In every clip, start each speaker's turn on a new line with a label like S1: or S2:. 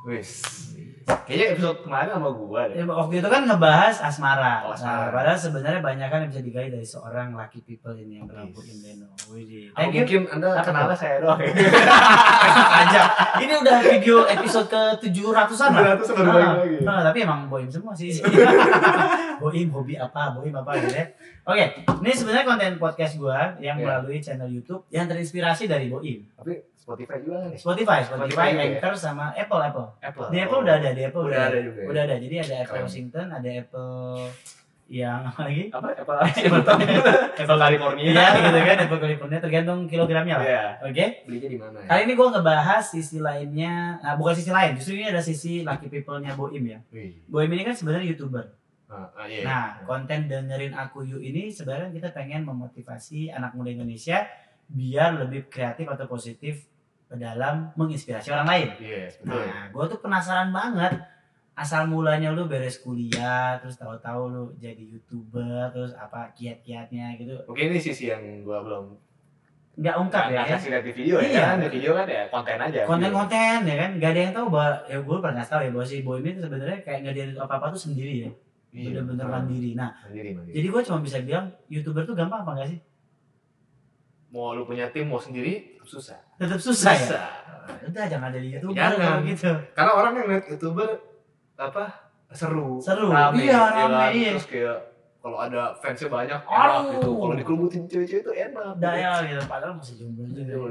S1: Wis. Kayaknya episode kemarin sama gua deh.
S2: Ya, waktu itu kan ngebahas asmara.
S1: Oh, asmara.
S2: Nah, padahal sebenarnya banyak kan yang bisa digali dari seorang lucky people ini yang berambut
S1: Yes.
S2: Indeno. Widih.
S1: Atau
S2: Thank
S1: mungkin
S2: you.
S1: Anda
S2: Apa Iya.
S1: kenalnya saya doang ya.
S2: aja. Ini udah video episode ke 700-an lah.
S1: 900 baru balik lagi.
S2: Ah, ah, tapi emang boim semua sih. boim hobi apa, boim apa gitu ya. Oke, ini sebenarnya konten podcast gua yang
S1: Iya.
S2: melalui channel YouTube yang terinspirasi dari boim.
S1: Tapi Spotify juga kan nih.
S2: Spotify,
S1: Spotify
S2: Spotify,
S1: juga ya?
S2: Anchor sama Apple, Apple.
S1: Apple.
S2: Di Apple udah ada, di Apple
S1: Udah
S2: udah
S1: ada juga. ya?
S2: Udah ada. Jadi ada Apple
S1: Keren.
S2: Washington, ada Apple yang apa lagi?
S1: Apa Apple lagi? Apple California.
S2: Iya, gitu kan Apple California tergantung kilogramnya lah.
S1: Iya.
S2: Oke.
S1: Belinya di mana ya?
S2: Kali ini gua ngebahas sisi lainnya, ah, bukan sisi lain, justru ini ada sisi lucky people-nya Boim ya.
S1: Wih.
S2: Boim ini kan sebenarnya YouTuber.
S1: Ah, ah, iya.
S2: Nah, konten dengerin aku you ini sebenarnya kita pengen memotivasi anak muda Indonesia biar lebih kreatif atau positif dalam menginspirasi orang lain.
S1: Iya, betul.
S2: Nah, gue tuh penasaran banget asal mulanya lu beres kuliah, terus tahu-tahu lu jadi youtuber, terus apa kiat-kiatnya gitu.
S1: Mungkin ini sisi yang gua belum
S2: Nggak ungkap ya.
S1: nggak
S2: ya.
S1: kasih lihat di video
S2: Iya.
S1: ya kan di video kan ya konten aja
S2: Konten-konten ya kan, nggak ada yang tahu bahwa ya gue pernah nggak tahu ya bahwa si Boy ini tuh sebenarnya kayak nggak diatur apa-apa tuh sendiri ya,
S1: Iya.
S2: bener-bener mandiri. Nah,
S1: mandiri mandiri
S2: jadi gue cuma bisa bilang youtuber tuh gampang apa nggak sih?
S1: mau lu punya tim mau sendiri susah
S2: Tetap susah ya.
S1: Susah.
S2: udah jangan jadi youtuber
S1: Jangan.
S2: kalau gitu
S1: karena orang yang lihat youtuber apa seru
S2: Seru.
S1: rame,
S2: Iya,
S1: ya
S2: rame,
S1: kan?
S2: iya.
S1: terus kayak kalau ada fansnya banyak enak
S2: Aduh.
S1: gitu kalau dikerubutin cewek-cewek itu enak
S2: daya gitu padahal masih jomblo juga
S1: Jomblo.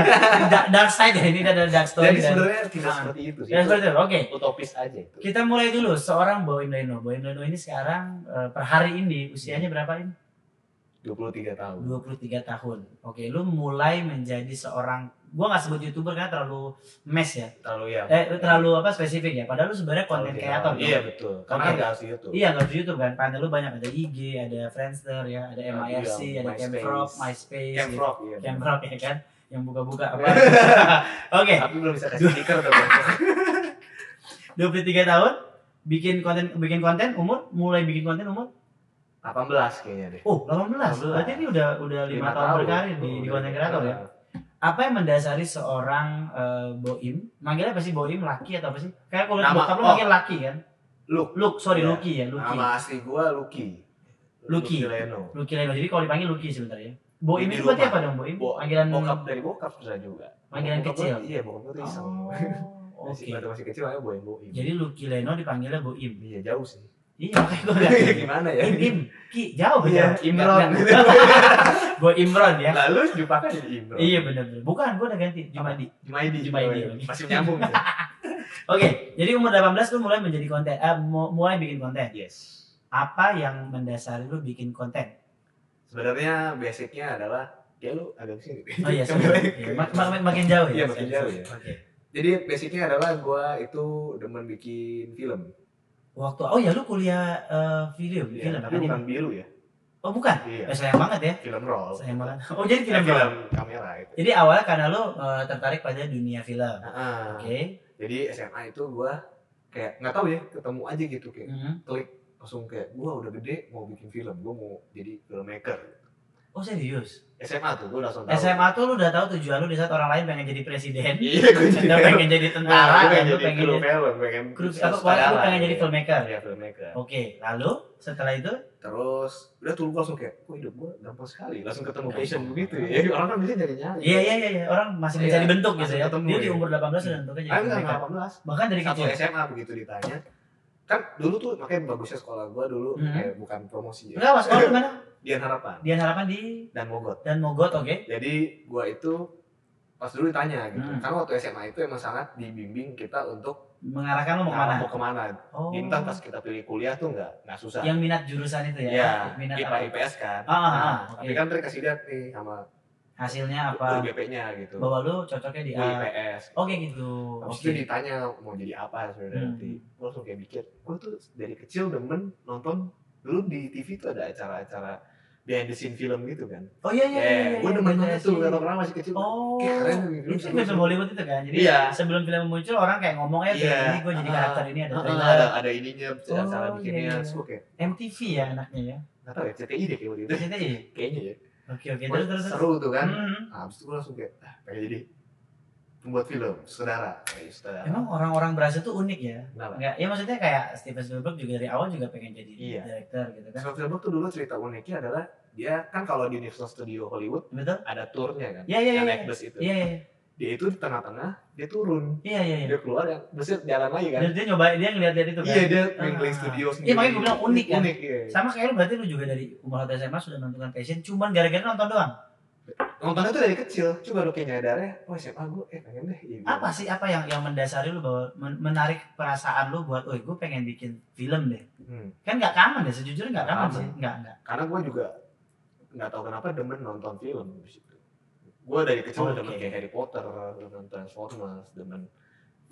S2: Da- dark side ya ini ada dark story
S1: Iya, jadi
S2: dan
S1: sebenarnya tidak
S2: Ah.
S1: seperti itu sih
S2: ya seperti itu oke
S1: utopis aja itu
S2: kita mulai dulu seorang Boim Leno Boim Leno ini sekarang eh, per hari ini usianya berapa ini
S1: 23 tahun
S2: 23 tahun oke lu mulai menjadi seorang gua nggak sebut youtuber karena terlalu mes ya
S1: terlalu yang
S2: eh lu terlalu apa spesifik ya padahal lu sebenarnya konten
S1: kreator
S2: kreator dong.
S1: iya betul karena
S2: Oke.
S1: kan nggak harus YouTube
S2: Iya nggak harus YouTube kan, pantai lu banyak ada IG, ada Friendster ya, ada
S1: Iya,
S2: MIRC, ada
S1: MySpace.
S2: Camfrog, MySpace,
S1: Camp
S2: gitu.
S1: Rock, iya.
S2: Camfrog ya kan, yang buka-buka apa. Oke,
S1: Eh, tapi belum bisa kasih stiker tuh Bang.
S2: 23 tahun bikin konten bikin konten umur mulai bikin konten umur
S1: 18 kayaknya deh
S2: oh 18.
S1: 18.
S2: Berarti ini udah udah 5 tahun,
S1: Oh,
S2: berkarir di, di konten kreator
S1: Iya.
S2: ya. Apa yang mendasari seorang eh, Boim? Manggilnya pasti Boim laki atau apa sih? Kayak kalau
S1: Nama,
S2: bokap lu
S1: oh.
S2: manggil laki kan.
S1: Luke.
S2: Luke, sorry
S1: Iya.
S2: Lucky ya, Lucky.
S1: Nama asli gua Lucky.
S2: Lucky.
S1: Leno.
S2: Lucky Leno. Jadi kalau dipanggil Lucky sebenarnya. Boim
S1: Di
S2: itu berarti
S1: rumah.
S2: apa dong Boim?
S1: Bo-
S2: Panggilan
S1: Bokap dari bokap susah juga.
S2: Panggilan
S1: Bokap
S2: kecil.
S1: gua- Iya, bokap gua tuh iseng.
S2: Oh,
S1: Masih
S2: Oke.
S1: waktu masih kecil aja boim boim.
S2: Jadi Lucky Leno dipanggilnya Boim.
S1: iya jauh sih.
S2: Iya, makanya gue bilang.
S1: Gimana ya?
S2: Im, Im, Ki, jauh
S1: Iya,
S2: ya.
S1: Imron.
S2: Nggak, nggak. Gua Imron ya.
S1: Lalu Jupaka jadi Imron.
S2: Iya benar benar. Bukan, gue udah ganti Jumadi.
S1: Jumaidi. Oh,
S2: Jumaidi.
S1: Masih nyambung. ya.
S2: Oke, jadi umur 18 lu mulai menjadi konten, eh, mu- mulai bikin konten.
S1: Yes.
S2: Apa yang mendasari lu bikin konten?
S1: Sebenarnya basicnya adalah ya lu agak sini.
S2: Oh iya,
S1: Kamera-
S2: sorry. Iya, mak- mak- makin jauh ya.
S1: Iya, makin jauh ya.
S2: Oke.
S1: Jadi basicnya adalah gua itu demen bikin film.
S2: Waktu, oh ya lu kuliah eh, video,
S1: Iya,
S2: film apa
S1: tapi
S2: anime?
S1: bukan biru ya.
S2: Oh bukan,
S1: Iya.
S2: ya, sayang banget ya.
S1: Film roll. Eh,
S2: Sayang banget. Oh jadi
S1: Film,
S2: film doang.
S1: kamera gitu. itu.
S2: Jadi awalnya karena lu eh, tertarik pada dunia film.
S1: Ah.
S2: Oke.
S1: jadi SMA itu gua kayak nggak tahu ya ketemu aja gitu kayak
S2: Mhm.
S1: langsung kayak gua udah gede mau bikin film gua mau jadi filmmaker
S2: Oh serius?
S1: SMA tuh gua langsung tahu
S2: SMA tuh lu udah tahu tujuan lu di saat orang lain pengen jadi presiden,
S1: iya gua jadi
S2: anda pengen jadi
S1: Nah,
S2: tentara,
S1: gua pengen
S2: dan lu
S1: jadi
S2: pengen
S1: kru
S2: jadi
S1: film pengen
S2: kru,
S1: bisa
S2: apa kuat, lu
S1: sutradara,
S2: pengen jadi
S1: iya.
S2: filmmaker.
S1: Iya, filmmaker
S2: Oke, lalu setelah itu
S1: terus udah tuh gua langsung kayak kok hidup gua gampang sekali langsung ketemu passion begitu ya orang kan bisa nyari nyari
S2: Iya iya iya iya, orang masih bisa
S1: Iya,
S2: dibentuk gitu
S1: masih
S2: ya.
S1: ketemu
S2: Dia di
S1: ya.
S2: umur 18 sudah tentukan jadi filmmaker. gitu ya?
S1: delapan belas
S2: Bahkan dari
S1: satu
S2: kecil.
S1: SMA begitu ditanya kan dulu tuh makanya bagusnya sekolah gua dulu
S2: Mhm.
S1: kayak bukan promosi ya
S2: Enggak, Mas, kalau gimana?
S1: Dian Harapan
S2: Dian Harapan di
S1: dan Mogot
S2: dan Mogot, oke.
S1: jadi gua itu pas dulu ditanya gitu
S2: Hmm.
S1: karena waktu SMA itu emang sangat dibimbing kita untuk
S2: Mengarahkan lu mau
S1: ngarah
S2: kemana?
S1: mau kemana
S2: Oh.
S1: bintang pas kita pilih kuliah tuh nggak nggak susah
S2: Yang minat jurusan itu ya.
S1: Iya,
S2: Minat
S1: IPA
S2: apa?
S1: IPS kan
S2: Ah, ah,
S1: Nah,
S2: ah,
S1: tapi
S2: oke.
S1: kan tadi kasih lihat nih sama
S2: Hasilnya
S1: guru
S2: apa?
S1: BP nya gitu
S2: Bahwa lu cocoknya di
S1: Guru
S2: A.
S1: IPS
S2: Oke gitu.
S1: Habis itu
S2: Oke.
S1: ditanya mau jadi apa sebenarnya
S2: Hmm.
S1: nanti gue langsung kayak mikir gue tuh dari kecil demen nonton dulu di TV tuh ada acara-acara behind the scene film gitu kan
S2: Oh iya iya iya.
S1: Eh, gue
S2: iya,
S1: demen
S2: iya,
S1: banget
S2: iya.
S1: tuh karena pernah masih kecil
S2: Oh,
S1: Kayak keren gitu.
S2: itu film Hollywood itu kan. Jadi
S1: Iya.
S2: sebelum film muncul orang kayak ngomongnya
S1: Iya.
S2: ini gue jadi
S1: Ah,
S2: karakter ini ada
S1: Ah,
S2: trailer.
S1: ada ada ininya cara cara
S2: Oh, iya,
S1: bikinnya
S2: iya.
S1: terus gue kayak
S2: MTV ya anaknya ya.
S1: nggak tahu ya CTI deh kayak waktu itu
S2: Itu ya.
S1: kayaknya ya
S2: Oke oke terus terus. terus.
S1: seru tuh kan
S2: Hmm.
S1: nah, abis itu gue langsung kayak ah pengen jadi membuat film saudara Eh, saudara
S2: Emang orang-orang berhasil tuh unik ya.
S1: Kenapa?
S2: Enggak, ya maksudnya kayak Steven Spielberg juga dari awal juga pengen jadi
S1: Iya.
S2: director gitu kan.
S1: Steven Spielberg tuh dulu cerita uniknya adalah dia kan kalau di Universal Studio Hollywood
S2: Betul? ada
S1: ada turnya kan
S2: Iya, iya,
S1: yang
S2: iya.
S1: naik bus itu
S2: Iya, iya, iya.
S1: dia itu di tengah-tengah dia turun
S2: Iya, iya, iya.
S1: dia keluar yang busnya jalan lagi kan
S2: Dia, dia nyobain, dia ngeliat dari itu kan.
S1: iya dia mingling studio sendiri
S2: Iya, makanya gua bilang unik, kan?
S1: unik iya.
S2: Sama kayak lu berarti lu juga dari umur hotel SMA sudah menentukan passion cuman gara-gara nonton doang.
S1: nontonnya tuh dari kecil coba lu kayak nyadarnya oh siapa gue eh pengen deh Iya, gitu.
S2: Apa sih apa yang yang mendasari lu bahwa men- menarik perasaan lu buat, "Oh, gue pengen bikin film deh."
S1: Hmm.
S2: Kan nggak common ya, sejujurnya nggak
S1: Nggak
S2: common
S1: common.
S2: sih. Nggak, nggak.
S1: karena gue juga nggak tahu kenapa demen nonton film di situ gue dari kecil
S2: Oh,
S1: demen
S2: oke.
S1: kayak Harry Potter demen Transformers demen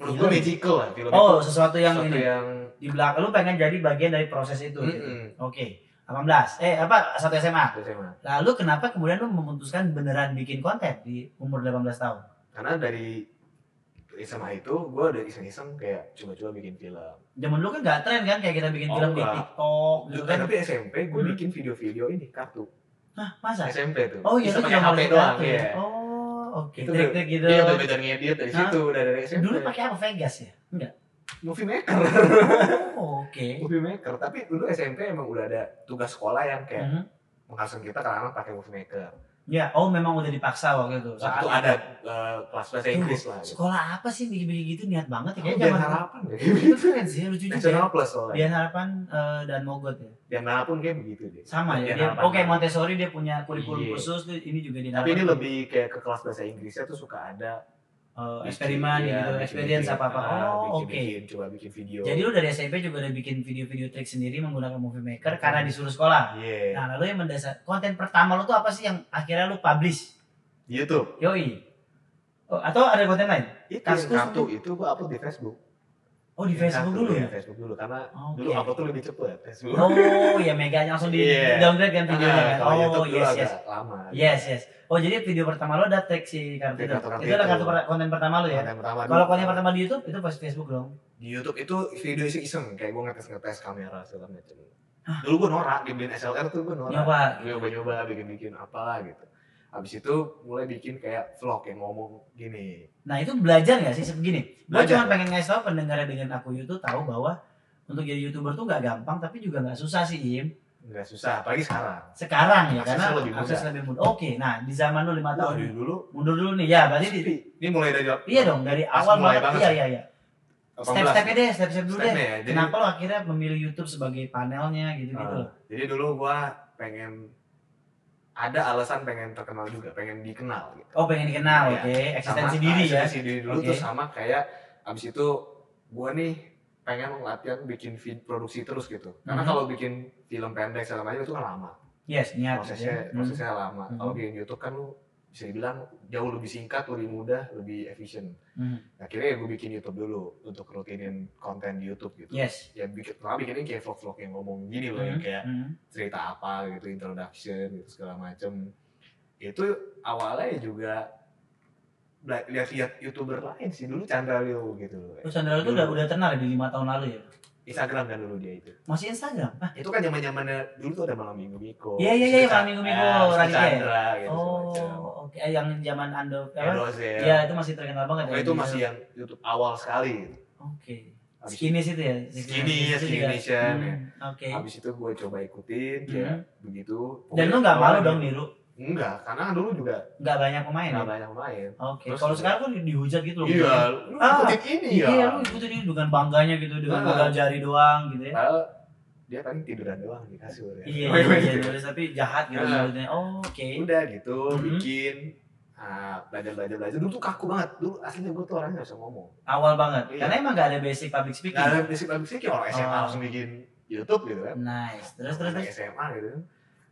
S1: menurut
S2: Film.
S1: gue magical lah film
S2: Iya. Oh,
S1: itu
S2: sesuatu yang
S1: Sesuatu
S2: ini.
S1: yang
S2: Di belakang lu pengen jadi bagian dari proses itu. gitu.
S1: Mm-mm.
S2: Oke. 18. Eh, apa? Satu SMA.
S1: Itu sih, Mas.
S2: Lalu kenapa kemudian lu memutuskan beneran bikin konten di umur 18 tahun?
S1: karena dari SMA itu gue udah iseng-iseng kayak coba-coba bikin film
S2: Zaman dulu kan gak tren kan kayak kita bikin
S1: Oh,
S2: film di
S1: enggak.
S2: TikTok gitu kan.
S1: Eh, tapi SMP gue
S2: Hmm.
S1: bikin video-video ini kartu
S2: Hah, masa?
S1: SMP tuh
S2: Oh iya
S1: Bisa
S2: itu
S1: pakai
S2: zaman
S1: HP
S2: dulu
S1: doang
S2: satu ya?
S1: ya
S2: Oh, oke.
S1: Itu
S2: Trik-trik gitu.
S1: Iya, udah belajar ngedit dari
S2: Hah?
S1: situ, udah dari SMP.
S2: Dulu pakai apa Vegas ya? Enggak.
S1: movie maker.
S2: Oh, oke.
S1: movie maker, tapi dulu SMP emang udah ada tugas sekolah yang kayak
S2: Mhm.
S1: mengasuh kita karena pakai movie maker.
S2: Ya, oh memang udah dipaksa waktu itu.
S1: Waktu itu ada eh, kelas bahasa Inggris lah. Gitu.
S2: Sekolah apa sih bikin-bikin gitu niat banget ya
S1: Oh,
S2: kayaknya
S1: Dan
S2: zaman
S1: harapan deh.
S2: itu keren sih lucu juga. ya.
S1: National plus soalnya.
S2: Biar harapan eh, dan mogot ya.
S1: Dan harapan kayak begitu deh.
S2: Sama ya.
S1: Biar
S2: dia-
S1: Harapan.
S2: Oke, Montessori dia punya kurikulum
S1: Iya.
S2: khusus tuh ini juga di
S1: Tapi ini lebih kayak ke kelas bahasa Inggrisnya tuh suka ada
S2: eh,
S1: bikin-
S2: eksperimen
S1: iya,
S2: gitu,
S1: bikin-
S2: experience
S1: bikin,
S2: apa apa.
S1: ah,
S2: Oh,
S1: bikin-
S2: oke.
S1: bikin, Coba bikin video.
S2: Jadi lu dari SMP juga udah bikin video-video trik sendiri menggunakan movie maker
S1: Hmm.
S2: karena disuruh sekolah.
S1: Iya.
S2: Nah, lalu yang mendasar konten pertama lu tuh apa sih yang akhirnya lu publish?
S1: Di YouTube.
S2: Yoi. Oh, atau ada konten lain?
S1: Itu
S2: Kaskus
S1: yang kartu itu gua upload di Facebook.
S2: Oh, di
S1: Yang
S2: Facebook
S1: kartu,
S2: dulu
S1: iya,
S2: ya.
S1: Facebook dulu karena
S2: Oke.
S1: dulu upload tuh lebih cepet Facebook.
S2: Oh, ya mega langsung di
S1: Iya.
S2: download kan
S1: Ah,
S2: videonya kan.
S1: kalau
S2: Oh,
S1: YouTube dulu
S2: yes
S1: agak
S2: yes.
S1: lama.
S2: Yes yes. Oh, jadi video pertama lu ada trik si kartu
S1: Iya,
S2: itu.
S1: kartu-kartu
S2: Itu adalah
S1: itu.
S2: kartu per- konten pertama lu ya.
S1: Konten pertama
S2: Kalau
S1: dulu.
S2: konten pertama di YouTube itu pasti Facebook dong.
S1: di YouTube itu video iseng iseng kayak gue ngetes ngetes kamera segala macam. Dulu gue norak dibeliin SLR tuh gue norak.
S2: Nyoba.
S1: Gue nyoba nyoba bikin bikin apalah gitu. Habis itu mulai bikin kayak vlog yang ngomong gini.
S2: Nah itu belajar nggak sih begini? Gue
S1: Belajar.
S2: cuma pengen ngasih tau pendengarnya dengan aku itu tahu bahwa untuk jadi youtuber tuh nggak gampang tapi juga nggak susah sih Im.
S1: Nggak susah, apalagi sekarang.
S2: Sekarang ya
S1: Aksesnya
S2: karena
S1: lebih mudah.
S2: akses lebih mudah. Oke, nah di zaman lu lima
S1: Wah,
S2: tahun
S1: dari dulu
S2: mundur dulu nih ya berarti di-
S1: sepi. Ini mulai dari
S2: iya dong dari
S1: Pas
S2: awal
S1: mulai
S2: banget,
S1: banget
S2: iya
S1: sih.
S2: iya iya. Step-stepnya deh, step-step dulu deh.
S1: Stepnya ya. Jadi,
S2: Kenapa lo akhirnya memilih YouTube sebagai panelnya gitu gitu?
S1: eh, jadi dulu gue pengen ada alasan pengen terkenal juga, pengen dikenal gitu.
S2: Oh pengen dikenal,
S1: Iya.
S2: oke. Eksistensi
S1: Sama,
S2: diri ya.
S1: eksistensi diri dulu
S2: Oke.
S1: tuh sama kayak abis itu gua nih pengen latihan bikin vid produksi terus gitu karena
S2: Mhm.
S1: kalau bikin film pendek segala macam itu kan lama
S2: Yes, niat.
S1: prosesnya
S2: gitu.
S1: prosesnya lama
S2: Mhm.
S1: kalau bikin YouTube kan lu bisa dibilang jauh lebih singkat lebih mudah lebih efisien
S2: Hmm. Hmm.
S1: akhirnya gue bikin YouTube dulu untuk rutinin konten di YouTube gitu
S2: Yes.
S1: ya bikin pertama bikinnya kayak vlog-vlog yang ngomong gini loh yang
S2: Hmm.
S1: kayak
S2: Hmm.
S1: cerita apa gitu introduction gitu segala macem itu awalnya ya juga bela- lihat-lihat youtuber lain sih dulu Chandra Leo gitu loh
S2: Terus Sandra itu
S1: Dulu.
S2: udah udah tenar ya di lima tahun lalu ya.
S1: Instagram kan dulu dia itu
S2: Masih Instagram? Hah?
S1: itu kan zaman zamannya dulu tuh ada malam minggu Miko
S2: Iya, iya,
S1: terus
S2: iya,
S1: ada
S2: Malam Minggu
S1: Ca-
S2: Miko,
S1: eh, terus ada
S2: Raditya ya?
S1: Chandra gitu semacam
S2: Oh, oke. Eh, Yang zaman Ando, apa?
S1: Edozel
S2: Iya, itu masih terkenal banget.
S1: Pokoknya
S2: ya,
S1: Oh, itu
S2: di-
S1: masih yang YouTube awal sekali
S2: Oke.
S1: Abis-
S2: Skinny itu ya.
S1: Skinny, ya,
S2: Itu
S1: Skinny
S2: juga.
S1: Nation, ya.
S2: Hmm, Oke.
S1: Habis itu gue coba ikutin kayak begitu.
S2: Hmm. Dan
S1: Pokoknya
S2: lu nggak malu
S1: awalnya-
S2: dong niru?
S1: Enggak, karena kan dulu juga
S2: Nggak banyak pemain.
S1: nggak
S2: ya?
S1: banyak pemain.
S2: Oke.
S1: Terus
S2: Kalau
S1: juga-
S2: sekarang kan di- dihujat gitu loh.
S1: Iya, lu
S2: Ah,
S1: ikutin ini ya.
S2: Iya, lu ikutin ini dengan bangganya gitu, dengan
S1: Nah.
S2: modal jari doang gitu ya.
S1: Padahal dia paling tiduran doang di kasur ya.
S2: Iya,
S1: Main-main
S2: iya,
S1: gitu.
S2: iya, tapi jahat gitu
S1: Nah.
S2: mulutnya. Oh, oke.
S1: Udah gitu
S2: Mhm.
S1: bikin ah, belajar belajar belajar dulu tuh kaku banget dulu aslinya gue tuh orangnya gak bisa ngomong Nah,
S2: Awal banget.
S1: Iya.
S2: Karena emang nggak ada basic public speaking.
S1: nggak ada basic basic sih kayak ya orang SMA
S2: Oh.
S1: langsung bikin YouTube gitu kan
S2: Nice. Terus terus
S1: Anak
S2: terus.
S1: SMA gitu kan.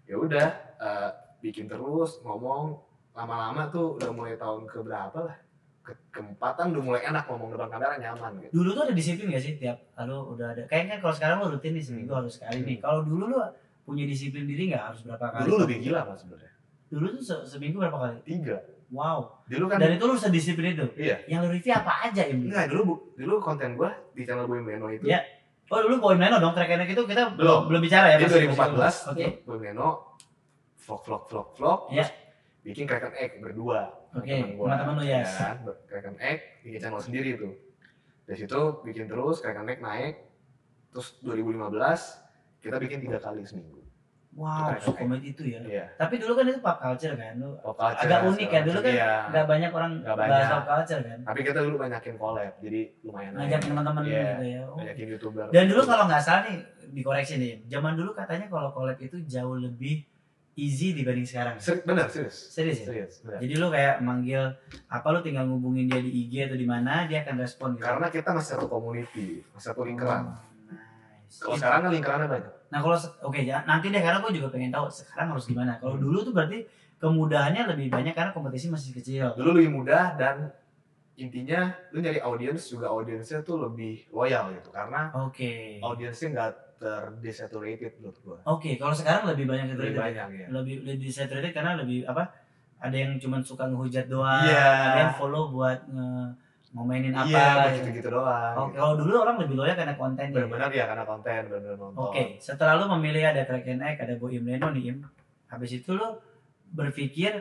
S1: ya udah eh, bikin terus ngomong lama-lama tuh udah mulai tahun ke berapa lah ke keempatan udah mulai enak ngomong depan kamera nyaman gitu
S2: dulu tuh ada disiplin gak sih tiap lalu udah ada kayaknya kalau sekarang lu rutin nih seminggu
S1: Hmm.
S2: harus sekali nih kalau dulu lu punya disiplin diri nggak harus berapa kali
S1: dulu lebih gila mas sebenarnya
S2: dulu tuh se- seminggu berapa kali
S1: tiga
S2: wow
S1: dulu kan
S2: dan itu lu sedisiplin itu
S1: iya Nah.
S2: yang lu review apa aja ya
S1: Enggak, dulu bu- dulu konten gua di channel Boy Meno itu.
S2: Iya. oh dulu poin meno dong track enak itu kita
S1: Belum.
S2: belum bicara ya
S1: Di
S2: masih-
S1: 2014,
S2: masih- oke
S1: Boy Meno vlog vlog vlog vlog
S2: Iya.
S1: terus bikin Kraken Egg berdua.
S2: Oke,
S1: gua.
S2: teman-teman lu, Yas.
S1: kan, Kraken Egg bikin channel sendiri tuh dari situ bikin terus Kraken Egg naik terus 2015 kita bikin tiga kali seminggu
S2: Wow,
S1: Itu kayak-
S2: sekomit itu ya.
S1: iya
S2: Tapi dulu kan itu pop culture kan, lu
S1: pop culture,
S2: Agak unik ya, dulu kan
S1: iya.
S2: nggak banyak orang
S1: Nggak
S2: bahas
S1: banyak.
S2: pop culture kan.
S1: tapi kita dulu banyakin collab jadi lumayan
S2: Ngajak
S1: naik.
S2: teman-teman
S1: Iya,
S2: gitu ya. Oh.
S1: banyakin youtuber
S2: Dan dulu kalau nggak salah nih, dikoreksi nih. Zaman dulu katanya kalau collab itu jauh lebih easy dibanding sekarang.
S1: Seri- bener serius
S2: Serius ya?
S1: serius bener.
S2: Jadi lu kayak manggil apa lu tinggal ngubungin dia di IG atau di mana dia akan respon gitu.
S1: karena kita masih satu community masih satu lingkaran
S2: Hmm. Nice.
S1: kalau sekarang kan lingkarannya banyak
S2: Nah kalau se- oke ya, nanti deh karena gue juga pengen tahu sekarang harus gimana. Kalau dulu tuh berarti kemudahannya lebih banyak karena kompetisi masih kecil.
S1: dulu lebih mudah dan intinya lu nyari audiens juga audiensnya tuh lebih loyal gitu karena
S2: Oke.
S1: audiensnya nggak terdesaturated menurut gua
S2: Oke, kalau sekarang lebih banyak
S1: lebih
S2: saturated.
S1: banyak ya
S2: Lebih lebih saturated karena lebih apa? Ada yang cuma suka ngehujat doang,
S1: Iya.
S2: ada yang follow buat nge- ngomainin apa.
S1: iya
S2: gitu.
S1: gitu gitu doang
S2: Oke,
S1: gitu.
S2: kalau dulu orang lebih loyal karena kontennya.
S1: benar-benar ya karena konten benar-benar nonton
S2: Oke, setelah lu memilih ada Kraken Egg, ada Boim Leno nih, Im. Habis itu lu berpikir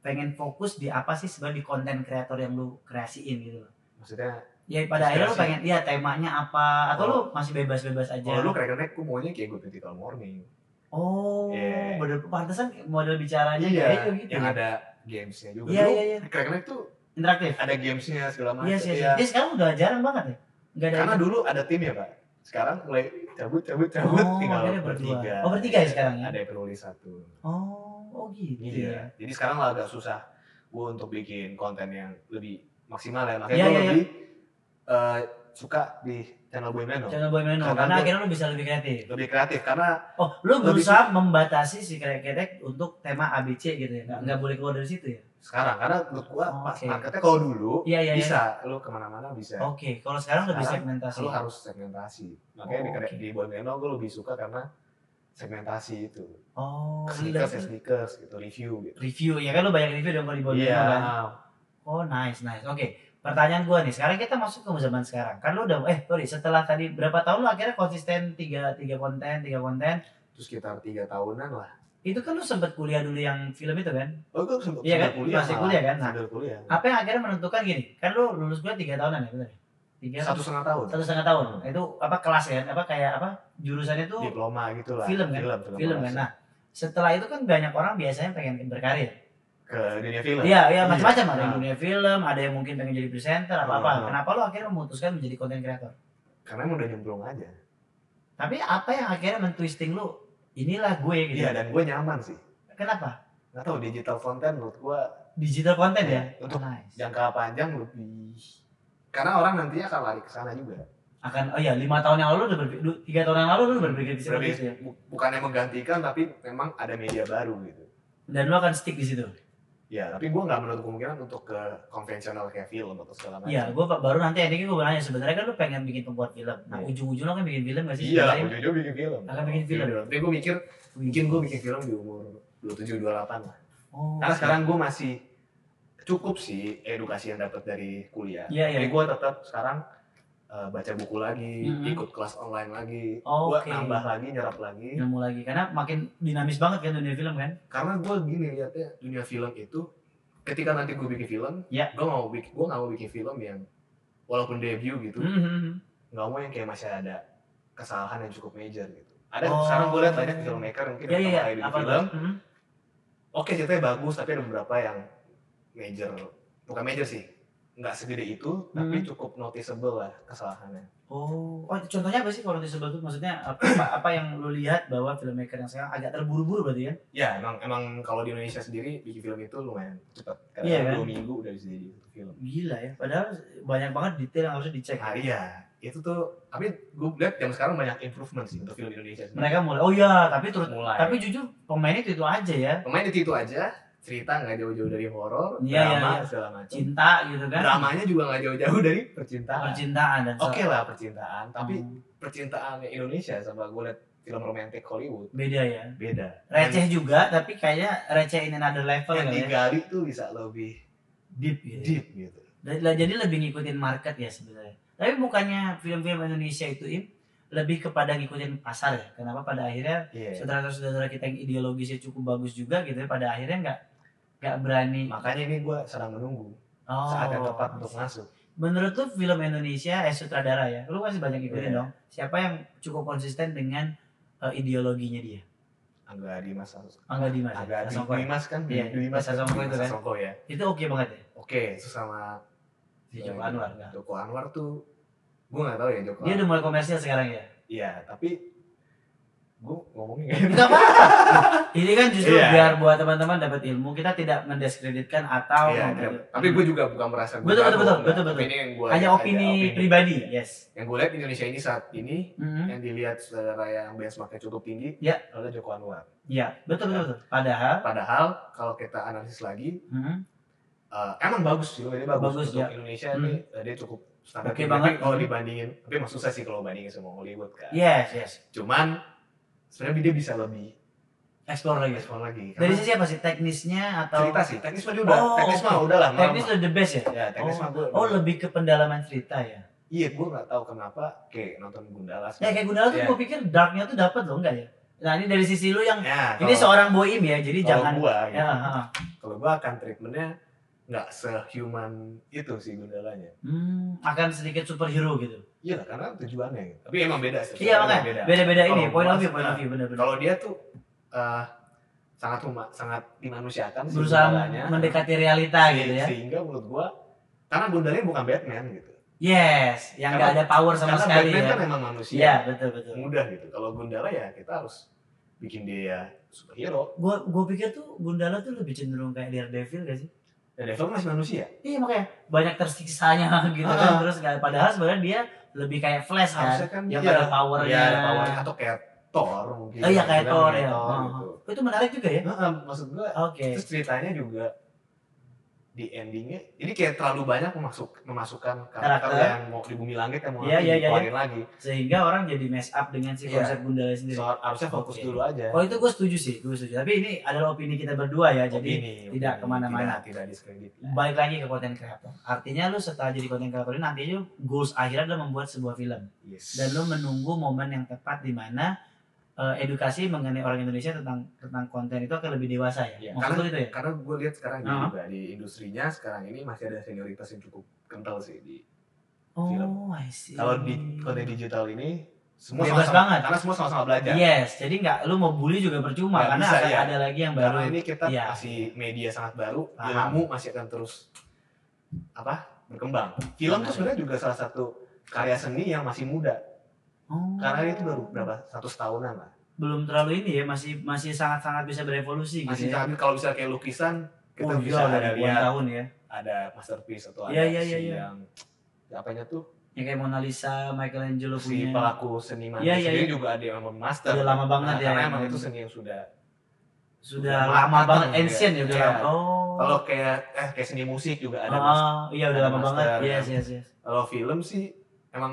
S2: pengen fokus di apa sih sebagai konten kreator yang lu kreasiin gitu loh.
S1: maksudnya
S2: Ya pada akhirnya lu
S1: Inspirasi.
S2: pengen ya temanya apa atau
S1: Oh.
S2: lu masih bebas-bebas aja.
S1: kalau lu keren-keren gua maunya kayak good critical morning
S2: oh,
S1: Iya.
S2: bener pantesan model bicaranya kayak gitu.
S1: yang ada gamesnya juga
S2: Iya,
S1: Lu
S2: iya, iya.
S1: keren-keren tuh
S2: Interaktif.
S1: ada gamesnya segala macam
S2: Iya sih,
S1: Iya.
S2: iya. Dia sekarang udah jarang banget ya. Enggak ada.
S1: karena dulu ada tim ya pak sekarang mulai cabut cabut cabut
S2: Oh,
S1: tinggal
S2: akhirnya berdua.
S1: bertiga
S2: Oh, bertiga ya sekarang ya?
S1: ada yang penulis satu
S2: Oh, oh gitu. ya.
S1: Iya. Jadi sekarang lah agak susah gue untuk bikin konten yang lebih maksimal ya. Makanya
S2: Iya,
S1: gue
S2: iya, iya.
S1: lebih eh, suka di channel Boy Meno.
S2: Channel Boim Leno,
S1: Karena
S2: karena
S1: gua-
S2: akhirnya lu bisa lebih kreatif.
S1: Lebih kreatif karena
S2: Oh, lu
S1: Lebih-
S2: berusaha membatasi si kereketek untuk tema ABC gitu ya? Nggak, nggak boleh keluar dari situ ya?
S1: sekarang karena menurut gue
S2: Oh,
S1: pas
S2: oke.
S1: marketnya kalau dulu
S2: Iya, Oh, iya, iya.
S1: bisa lu kemana-mana bisa.
S2: Oke, kalau sekarang lebih
S1: Sekarang
S2: segmentasi.
S1: Lu harus segmentasi. Makanya
S2: iya. Oh,
S1: di, kre-
S2: oke.
S1: di Boy Meno gue lebih suka karena segmentasi itu.
S2: Oh,
S1: Sneakers ya
S2: lu-
S1: sneakers gitu review gitu. Iya.
S2: review ya kan lu banyak review dong kalau di Bogor kan? Oh, nice, nice. Oke, pertanyaan gua nih. Sekarang kita masuk ke zaman sekarang. Kan lu udah eh sorry, setelah tadi berapa tahun lu akhirnya konsisten tiga tiga konten, tiga konten.
S1: Terus sekitar tiga tahunan lah.
S2: Itu kan lu sempet kuliah dulu yang film itu kan?
S1: Oh, gue sempat
S2: Iya kan?
S1: kuliah.
S2: Masih
S1: malah.
S2: kuliah kan? Nah.
S1: Sambil kuliah.
S2: Apa yang akhirnya menentukan gini? Kan lu lulus kuliah tiga tahunan ya, benar? ya? Tiga
S1: Satu setengah tahun.
S2: satu setengah tahun.
S1: Hmm.
S2: Itu apa kelas ya? Apa kayak apa? Jurusannya tuh
S1: diploma gitu lah
S2: Film kan?
S1: film,
S2: film kan.
S1: produksi.
S2: Nah, setelah itu kan banyak orang biasanya pengen berkarir.
S1: ke dunia film
S2: Iya, iya macam-macam ada yang
S1: Nah.
S2: dunia film, ada yang mungkin pengen jadi presenter apa apa.
S1: Hmm.
S2: Kenapa lo akhirnya memutuskan menjadi konten kreator?
S1: karena emang udah nyemplung aja
S2: Tapi apa yang akhirnya mentwisting lo? Inilah gue gitu.
S1: iya dan gue nyaman sih
S2: Kenapa?
S1: nggak tahu digital content menurut gue
S2: Digital konten ya.
S1: Untuk
S2: nice.
S1: jangka panjang lebih karena orang nantinya akan lari ke sana juga
S2: Akan oh iya, lima tahun yang lalu udah berpi- du- tiga tahun yang lalu lo udah berpikir seperti itu ya.
S1: Berarti bu- bukannya menggantikan tapi memang ada media baru gitu
S2: Dan lo akan stick di situ.
S1: ya tapi gue nggak menutup kemungkinan untuk ke konvensional kayak film atau segala macam
S2: Iya, gue baru nanti endingnya gue nanya sebenarnya kan lo pengen bikin pembuat film. Nah,
S1: Iya.
S2: ujung-ujung lo kan bikin film gak sih?
S1: iya
S2: sebenarnya?
S1: gue bikin film
S2: Akan bikin film.
S1: tapi gue mikir mungkin gue bikin film di umur 27 28 lah Karena
S2: Oh,
S1: Nah, sekarang gue masih cukup sih edukasi yang dapat dari kuliah.
S2: Iya, iya.
S1: Jadi gue tetap sekarang eh, baca buku lagi,
S2: Mhm.
S1: ikut kelas online lagi,
S2: Oh,
S1: gue
S2: oke. Ya.
S1: nambah lagi, nyerap lagi.
S2: ilmu lagi karena makin dinamis banget kan dunia film kan
S1: Karena gue gini liatnya dunia film itu, ketika nanti gue bikin film,
S2: Iya.
S1: gue mau bikin gue nggak mau bikin film yang walaupun debut gitu,
S2: Hmm.
S1: nggak mau yang kayak masih ada kesalahan yang cukup major gitu. Ada
S2: Oh.
S1: sekarang gue liat banyak filmmaker mungkin
S2: ya
S1: yang
S2: ya
S1: pertama
S2: ya
S1: kali bikin
S2: apa
S1: film,
S2: Mhm.
S1: oke ceritanya bagus tapi ada beberapa yang major bukan major sih nggak segede itu tapi
S2: Hmm.
S1: cukup noticeable lah kesalahannya
S2: oh oh contohnya apa sih kalau di sebelah itu maksudnya apa, apa- apa yang lu lihat bahwa filmmaker yang sekarang agak terburu-buru berarti kan
S1: ya emang emang kalau di Indonesia sendiri bikin film itu lumayan cepat karena
S2: Iya, kan?
S1: dua minggu udah bisa jadi satu film
S2: gila ya padahal banyak banget detail yang harusnya dicek
S1: nah iya itu tuh tapi gue lihat yang sekarang banyak improvement sih untuk film Indonesia sendiri.
S2: mereka mulai oh ya tapi turut
S1: mulai
S2: tapi jujur pemainnya itu itu aja ya
S1: pemain itu itu aja cerita nggak jauh-jauh dari horor
S2: Iya, iya,
S1: drama
S2: iya.
S1: segala macam
S2: cinta gitu kan
S1: dramanya juga nggak jauh-jauh dari percintaan
S2: percintaan dan
S1: oke lah percintaan tapi percintaannya Indonesia sama gue liat film romantis Hollywood
S2: beda ya
S1: beda
S2: receh juga tapi kayaknya receh in another level
S1: yang
S2: kali ya
S1: digali tuh bisa lebih
S2: deep ya
S1: deep gitu.
S2: Dan- lah, jadi lebih ngikutin market ya sebenarnya tapi bukannya film-film Indonesia itu Im, lebih kepada ngikutin pasar ya kenapa pada akhirnya
S1: Iya.
S2: saudara-saudara kita yang ideologisnya cukup bagus juga gitu ya pada akhirnya nggak Gak berani.
S1: Makanya ini gue sedang menunggu
S2: Oh.
S1: saat yang tepat untuk masuk.
S2: Menurut lu film Indonesia eh sutradara ya, lu masih banyak ikutin
S1: Iya.
S2: dong. Siapa yang cukup konsisten dengan eh, ideologinya dia?
S1: Angga Dimas harus.
S2: Angga Dimas. ya?
S1: Angga
S2: Sasongko ya?
S1: Dimas kan,
S2: Iya,
S1: Dimas
S2: Sasongko itu kan.
S1: Sasongko ya.
S2: Itu oke banget ya.
S1: Oke, terus sama Iya,
S2: Si Joko Anwar. Nah.
S1: Joko Anwar tuh gue nggak tahu ya Joko.
S2: Dia udah mulai komersial sekarang ya.
S1: Iya, tapi gue ngomongnya nggak enak.
S2: Enggak apa. Ini kan justru
S1: Iya.
S2: biar buat teman-teman dapat ilmu, kita tidak mendiskreditkan atau
S1: Iya,
S2: memberi-
S1: iya. tapi gue juga bukan merasa gue
S2: Betul,
S1: jago,
S2: betul,
S1: enggak.
S2: betul, betul.
S1: Tapi Ini yang gue
S2: hanya opini pribadi. Yes.
S1: Yang gue lihat Indonesia ini saat ini
S2: Mhm.
S1: yang dilihat saudara yang benchmarknya cukup tinggi
S2: Iya.
S1: adalah Joko Anwar.
S2: Iya, betul betul betul. Padahal
S1: Padahal kalau kita analisis lagi,
S2: mhm.
S1: eh, emang bagus sih, ini bagus,
S2: Bagus,
S1: untuk
S2: ya.
S1: Indonesia
S2: Hmm.
S1: ini eh, dia cukup standar.
S2: Oke
S1: tinggi.
S2: banget. Iya.
S1: Tapi kalau
S2: Hmm.
S1: dibandingin, tapi emang susah sih kalau bandingin sama Hollywood kan.
S2: yes yes.
S1: Cuman sebenarnya dia bisa lebih
S2: Explore lagi.
S1: ekspor lagi.
S2: Dari
S1: Karena
S2: sisi apa sih teknisnya atau
S1: cerita sih, teknis mah dia udah,
S2: Oh,
S1: teknis mah
S2: oke.
S1: udah lah.
S2: teknis udah the best ya?
S1: Ya, teknis
S2: Oh.
S1: mah gue.
S2: Oh lebih ke pendalaman cerita ya.
S1: Iya, gue gak tahu kenapa kayak nonton Gundala.
S2: Ya kayak Gundala tuh
S1: Iya.
S2: gue pikir darknya tuh dapat loh enggak ya? Nah ini dari sisi lu yang
S1: Ya,
S2: ini seorang boim ya, jadi jangan.
S1: jangan gua gitu.
S2: Ya, ha, ha.
S1: Kalau gua akan treatmentnya nggak sehuman itu sih Gundalanya.
S2: Hmm, akan sedikit superhero gitu.
S1: Iya lah, karena tujuannya gitu. Tapi emang beda sih.
S2: Iya
S1: emang
S2: makanya beda-beda ini
S1: Kalau
S2: point
S1: gua
S2: of view,
S1: sih,
S2: point of
S1: nah,
S2: view bener-bener.
S1: Kalau dia tuh eh, sangat huma, sangat dimanusiakan sih
S2: Berusaha
S1: Gundalanya.
S2: mendekati realita
S1: Se-
S2: gitu ya.
S1: Sehingga menurut gua karena Gundalanya bukan Batman gitu.
S2: Yes, yang nggak ada
S1: Karena-
S2: power sama
S1: karena
S2: sekali
S1: Batman kan
S2: ya.
S1: emang manusia.
S2: Iya betul betul.
S1: Mudah gitu. Kalau Gundala ya kita harus bikin dia superhero.
S2: Gue gue pikir tuh Gundala tuh lebih cenderung kayak Daredevil gak sih?
S1: Dan Devil masih manusia.
S2: Iya makanya banyak tersiksanya gitu kan
S1: Ah.
S2: terus nggak padahal sebenarnya dia lebih kayak Flash kan.
S1: Harusnya kan
S2: yang
S1: dia-
S2: ada powernya.
S1: Iya, ada powernya. atau kayak Thor mungkin.
S2: Oh iya, kayak
S1: Bilang
S2: Thor, ya.
S1: gitu.
S2: Oh, itu menarik juga ya.
S1: Heeh, maksud gua
S2: Oke.
S1: terus ceritanya juga di endingnya ini kayak terlalu banyak memasuk memasukkan karakter,
S2: Karakter.
S1: yang mau di bumi langit yang mau
S2: Iya,
S1: nanti
S2: iya, iya,
S1: dikeluarin lagi
S2: Sehingga orang jadi mess up dengan si
S1: Iya.
S2: konsep Gundala sendiri.
S1: so, harusnya fokus
S2: Oke.
S1: dulu aja
S2: Iya. Kalau itu gue setuju sih, gue setuju. Tapi ini adalah opini kita berdua ya. Jadi
S1: Opini,
S2: tidak
S1: opini,
S2: kemana-mana. Iya.
S1: tidak, tidak diskredit
S2: balik lagi ke konten kreator. Artinya lu setelah jadi konten kreator ini nantinya lu goals akhirnya adalah membuat sebuah film
S1: yes.
S2: dan lu menunggu momen yang tepat di mana eh, edukasi mengenai orang Indonesia tentang tentang konten itu akan lebih dewasa ya.
S1: Iya,
S2: Maksud lu itu ya?
S1: karena gue lihat sekarang ini
S2: Uh-huh.
S1: juga di industrinya sekarang ini masih ada senioritas yang cukup kental sih di film.
S2: Oh, I see.
S1: kalau di konten digital kan ini semua
S2: Bebas
S1: sama-sama-
S2: banget. Iya,
S1: karena semua sama-sama belajar
S2: Yes, jadi nggak lu mau bully juga percuma
S1: Nggak
S2: karena
S1: bisa,
S2: akan
S1: iya.
S2: ada lagi yang baru.
S1: karena ini kita
S2: Iya.
S1: masih media sangat baru
S2: Paham.
S1: ilmu masih akan terus apa berkembang film
S2: Benar,
S1: tuh sebenarnya juga salah satu karya seni yang masih muda
S2: Oh.
S1: karena itu baru berapa satu tahunan lah
S2: belum terlalu ini ya, masih masih sangat-sangat bisa berevolusi
S1: masih
S2: gitu. ya.
S1: tapi kalau bisa kayak lukisan kita
S2: Oh,
S1: bisa
S2: gila,
S1: ada
S2: ribuan
S1: lihat
S2: tahun ya.
S1: ada masterpiece atau ada
S2: Iya, iya,
S1: si
S2: iya, iya.
S1: yang apanya tuh
S2: Yang Ya kayak Mona Lisa, Michelangelo
S1: si
S2: punya.
S1: pelaku seniman
S2: Iya,
S1: dia
S2: iya, iya.
S1: juga ada yang emang master
S2: Udah lama banget
S1: Nah,
S2: ya.
S1: karena
S2: yang
S1: emang
S2: main.
S1: itu seni yang sudah
S2: sudah
S1: Udah
S2: lama
S1: matang
S2: banget
S1: ya.
S2: ancient ya udah
S1: Iya.
S2: lama. Oh.
S1: kalau kayak eh kayak seni musik juga ada mas-
S2: oh, iya udah
S1: ada
S2: lama
S1: master,
S2: banget.
S1: kan?
S2: Yes, yes, yes.
S1: kalau film sih emang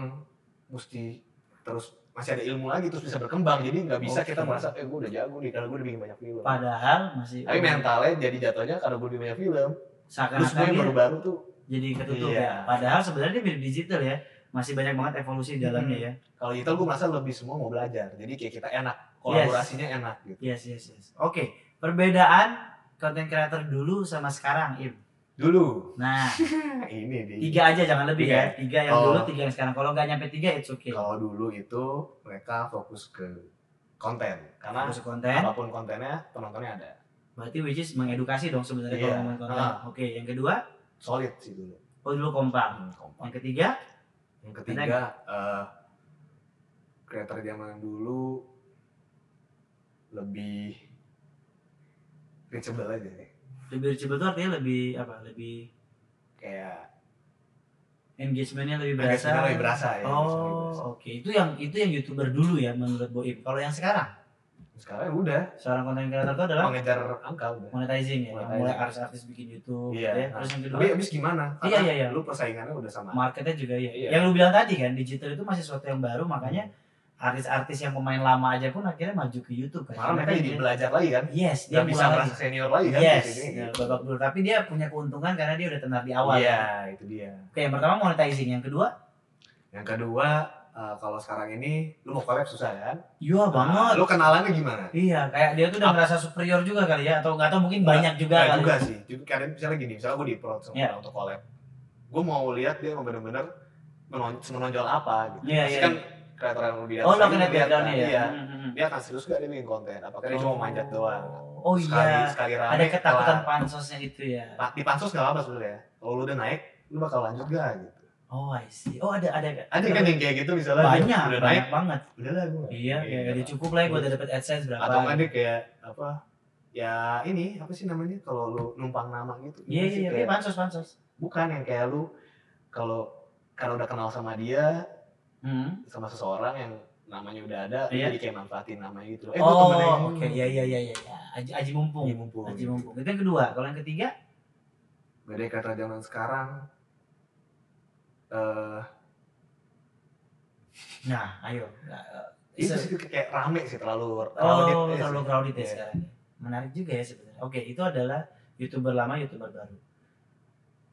S1: mesti terus masih ada ilmu lagi terus bisa berkembang jadi nggak bisa kita
S2: Oke.
S1: merasa eh gue udah jago nih karena gue udah bikin banyak film
S2: Padahal masih
S1: tapi mentalnya jadi jatuhnya karena gue bikin banyak film terus gue
S2: seakan-akan
S1: yang
S2: dia
S1: baru-baru tuh
S2: jadi ketutup
S1: Iya.
S2: ya. Padahal sebenarnya dia mirip digital ya. Masih banyak banget evolusi di dalamnya
S1: Hmm.
S2: ya.
S1: kalau digital gue merasa lebih semua mau belajar jadi kayak kita enak kolaborasinya enak gitu
S2: Yes, yes, yes. Oke, perbedaan konten creator dulu sama sekarang, Im.
S1: dulu
S2: Nah,
S1: nah, ini di
S2: tiga aja jangan lebih
S1: Tiga.
S2: ya. Tiga yang
S1: Oh.
S2: dulu, tiga yang sekarang. Kalau nggak nyampe tiga, it's okay.
S1: kalau dulu itu mereka fokus ke konten karena
S2: Terus konten,
S1: apapun kontennya penontonnya ada
S2: berarti which is mengedukasi dong sebenarnya kalau
S1: Iya.
S2: ngomongin konten.
S1: Ah.
S2: Oke, yang kedua,
S1: solid sih dulu
S2: oh dulu kompak.
S1: Hmm, kompak.
S2: Yang ketiga,
S1: Yang ketiga, eh creator zaman dulu lebih reachable aja nih.
S2: lebih reachable tuh artinya lebih apa lebih
S1: Kayak
S2: engagementnya lebih
S1: agak
S2: berasa
S1: sebenarnya lebih berasa ya. sebenarnya lebih berasa.
S2: oh oke itu yang itu yang youtuber dulu ya menurut Boim kalau yang sekarang
S1: Sekarang udah
S2: seorang konten creator itu adalah
S1: mengejar angka udah.
S2: monetizing ya yang
S1: Monetizing.
S2: mulai artis-artis bikin YouTube
S1: Iya.
S2: gitu ya. terus yang kedua
S1: Tapi abis gimana?
S2: Iya,
S1: Karena
S2: iya, iya.
S1: Lu persaingannya udah sama.
S2: marketnya juga ya
S1: Iya.
S2: yang lu bilang tadi kan digital itu masih sesuatu yang baru makanya artis-artis yang pemain lama aja pun akhirnya maju ke YouTube kan
S1: Malah
S2: Karena
S1: mereka
S2: kan
S1: jadi
S2: dia-
S1: belajar lagi kan.
S2: yes dia
S1: Gak bisa
S2: mulai
S1: merasa senior lagi kan.
S2: yes
S1: Gitu-gitu.
S2: nah, babak dulu tapi dia punya keuntungan karena dia udah tenar di awal
S1: Iya, itu dia.
S2: oke yang pertama monetizing yang kedua
S1: Yang kedua, eh, kalau sekarang ini lu mau collab susah kan?
S2: Iya
S1: Nah,
S2: banget.
S1: lu kenalannya gimana?
S2: Iya, kayak dia tuh udah merasa superior juga kali ya atau nggak tahu mungkin banyak juga
S1: Nggak
S2: kali.
S1: juga sih. Jadi kadang misalnya gini, misalnya gue di approach sama
S2: kan? Iya.
S1: orang untuk collab. Gue mau lihat dia emang bener-bener menon- menonjol apa gitu.
S2: Iya,
S1: Pasti
S2: iya.
S1: kan kreator yang lebih
S2: Oh, lo
S1: saya
S2: kena
S1: ngeliat
S2: background
S1: kan,
S2: ya.
S1: Iya.
S2: Hmm, hmm, hmm.
S1: Dia akan serius gak dia bikin konten? Apakah dia cuma manjat doang?
S2: Oh
S1: Sekali,
S2: iya.
S1: sekali rame,
S2: Ada ketakutan
S1: kelar.
S2: pansosnya itu ya.
S1: Pa- Di pansus gak apa-apa sebenarnya. Kalau lu udah naik, lu bakal lanjut gak gitu.
S2: Oh, I see. Oh, ada ada
S1: Ada kan yang kayak gitu misalnya. dia
S2: banyak,
S1: Udah naik,
S2: banyak banget.
S1: udah lah gue.
S2: Iya, kayak gak ada cukup lah gue udah dapet AdSense berapa. Iya,
S1: Atau kan dia kayak apa? Ya ini apa sih namanya kalau lu numpang nama gitu.
S2: Iya,
S1: Ini sih
S2: iya, iya,
S1: kayak-
S2: pansos, pansos.
S1: bukan yang kayak lu kalau karena udah kenal sama dia
S2: Hmm.
S1: sama seseorang yang namanya udah ada lu
S2: Iya.
S1: jadi kayak manfaatin namanya gitu eh gua temennya
S2: Oh,
S1: ini.
S2: oke, iya, iya, iya, iya. iya. Aji, aji mumpung.
S1: Iya, mumpung
S2: Aji mumpung. Itu yang kedua. Kalau yang ketiga,
S1: bedanya kata zaman sekarang eh
S2: nah, ayo. Nah, eh,
S1: itu
S2: se-
S1: sih kayak rame sih terlalu crowded
S2: Oh,
S1: ya
S2: terlalu
S1: sih.
S2: crowded ya
S1: Iya.
S2: sekarang. Menarik juga ya sebenarnya. Oke, itu adalah youtuber lama, youtuber baru.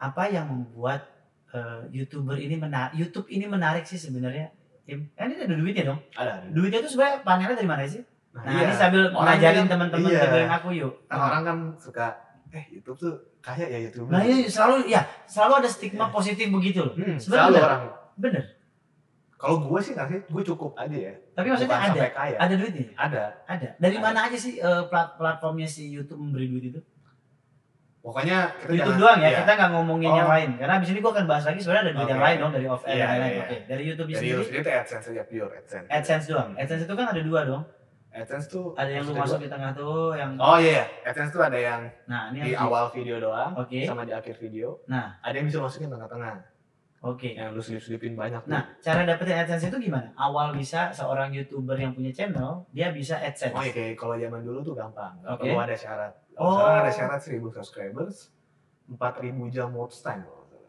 S2: Apa yang membuat eh, youtuber ini menarik? YouTube ini menarik sih sebenarnya. Tim, kan ini ada duitnya dong.
S1: ada ada.
S2: Duitnya tuh sebenarnya panelnya dari mana sih?
S1: nah,
S2: Nah,
S1: iya.
S2: ini sambil
S1: Orang
S2: ngajarin
S1: yang-
S2: teman-teman
S1: iya.
S2: dengerin aku yuk.
S1: Kan orang kan suka eh YouTube tuh kaya ya YouTube
S2: Nah, ini selalu ya, selalu ada stigma
S1: Iya.
S2: positif begitu loh.
S1: hmm, selalu
S2: Sebenarnya
S1: orang
S2: bener.
S1: kalau gue sih nggak sih gue cukup aja ya
S2: Tapi maksudnya
S1: Bukan
S2: ada,
S1: sampai kaya
S2: ada duitnya.
S1: ada
S2: Ada. Dari
S1: Ada.
S2: mana aja sih eh, plat- platformnya si YouTube memberi duit itu?
S1: pokoknya kita
S2: YouTube
S1: jangan-
S2: doang ya,
S1: iya.
S2: kita nggak ngomongin
S1: Oh.
S2: yang lain. Karena abis ini gue akan bahas lagi sebenarnya ada duit yang
S1: Oke.
S2: lain dong dari off air
S1: Iya,
S2: dan lain-lain.
S1: iya,
S2: Oke, dari YouTube
S1: Jadi
S2: sendiri
S1: itu AdSense aja pure AdSense.
S2: AdSense doang. AdSense itu kan ada dua dong.
S1: AdSense tuh
S2: Ada yang lu
S1: maksudnya
S2: masuk di tengah tuh, yang
S1: dua- Oh iya, AdSense tuh ada yang
S2: nah
S1: di
S2: ini yang
S1: awal video doang
S2: Oke,
S1: sama di akhir video.
S2: Nah.
S1: ada yang bisa masukin tengah-tengah.
S2: oke.
S1: Yang lu selip-selipin banyak tuh.
S2: Nah, cara dapetin AdSense itu gimana? Awal bisa seorang YouTuber yang punya channel, dia bisa AdSense.
S1: Oh iya, kayak kalau zaman dulu tuh gampang. Gak
S2: Oke.
S1: perlu ada syarat. Kalau
S2: Oh.
S1: sekarang ada syarat 1000 subscribers, 4000 jam watch time. kalau nggak salah.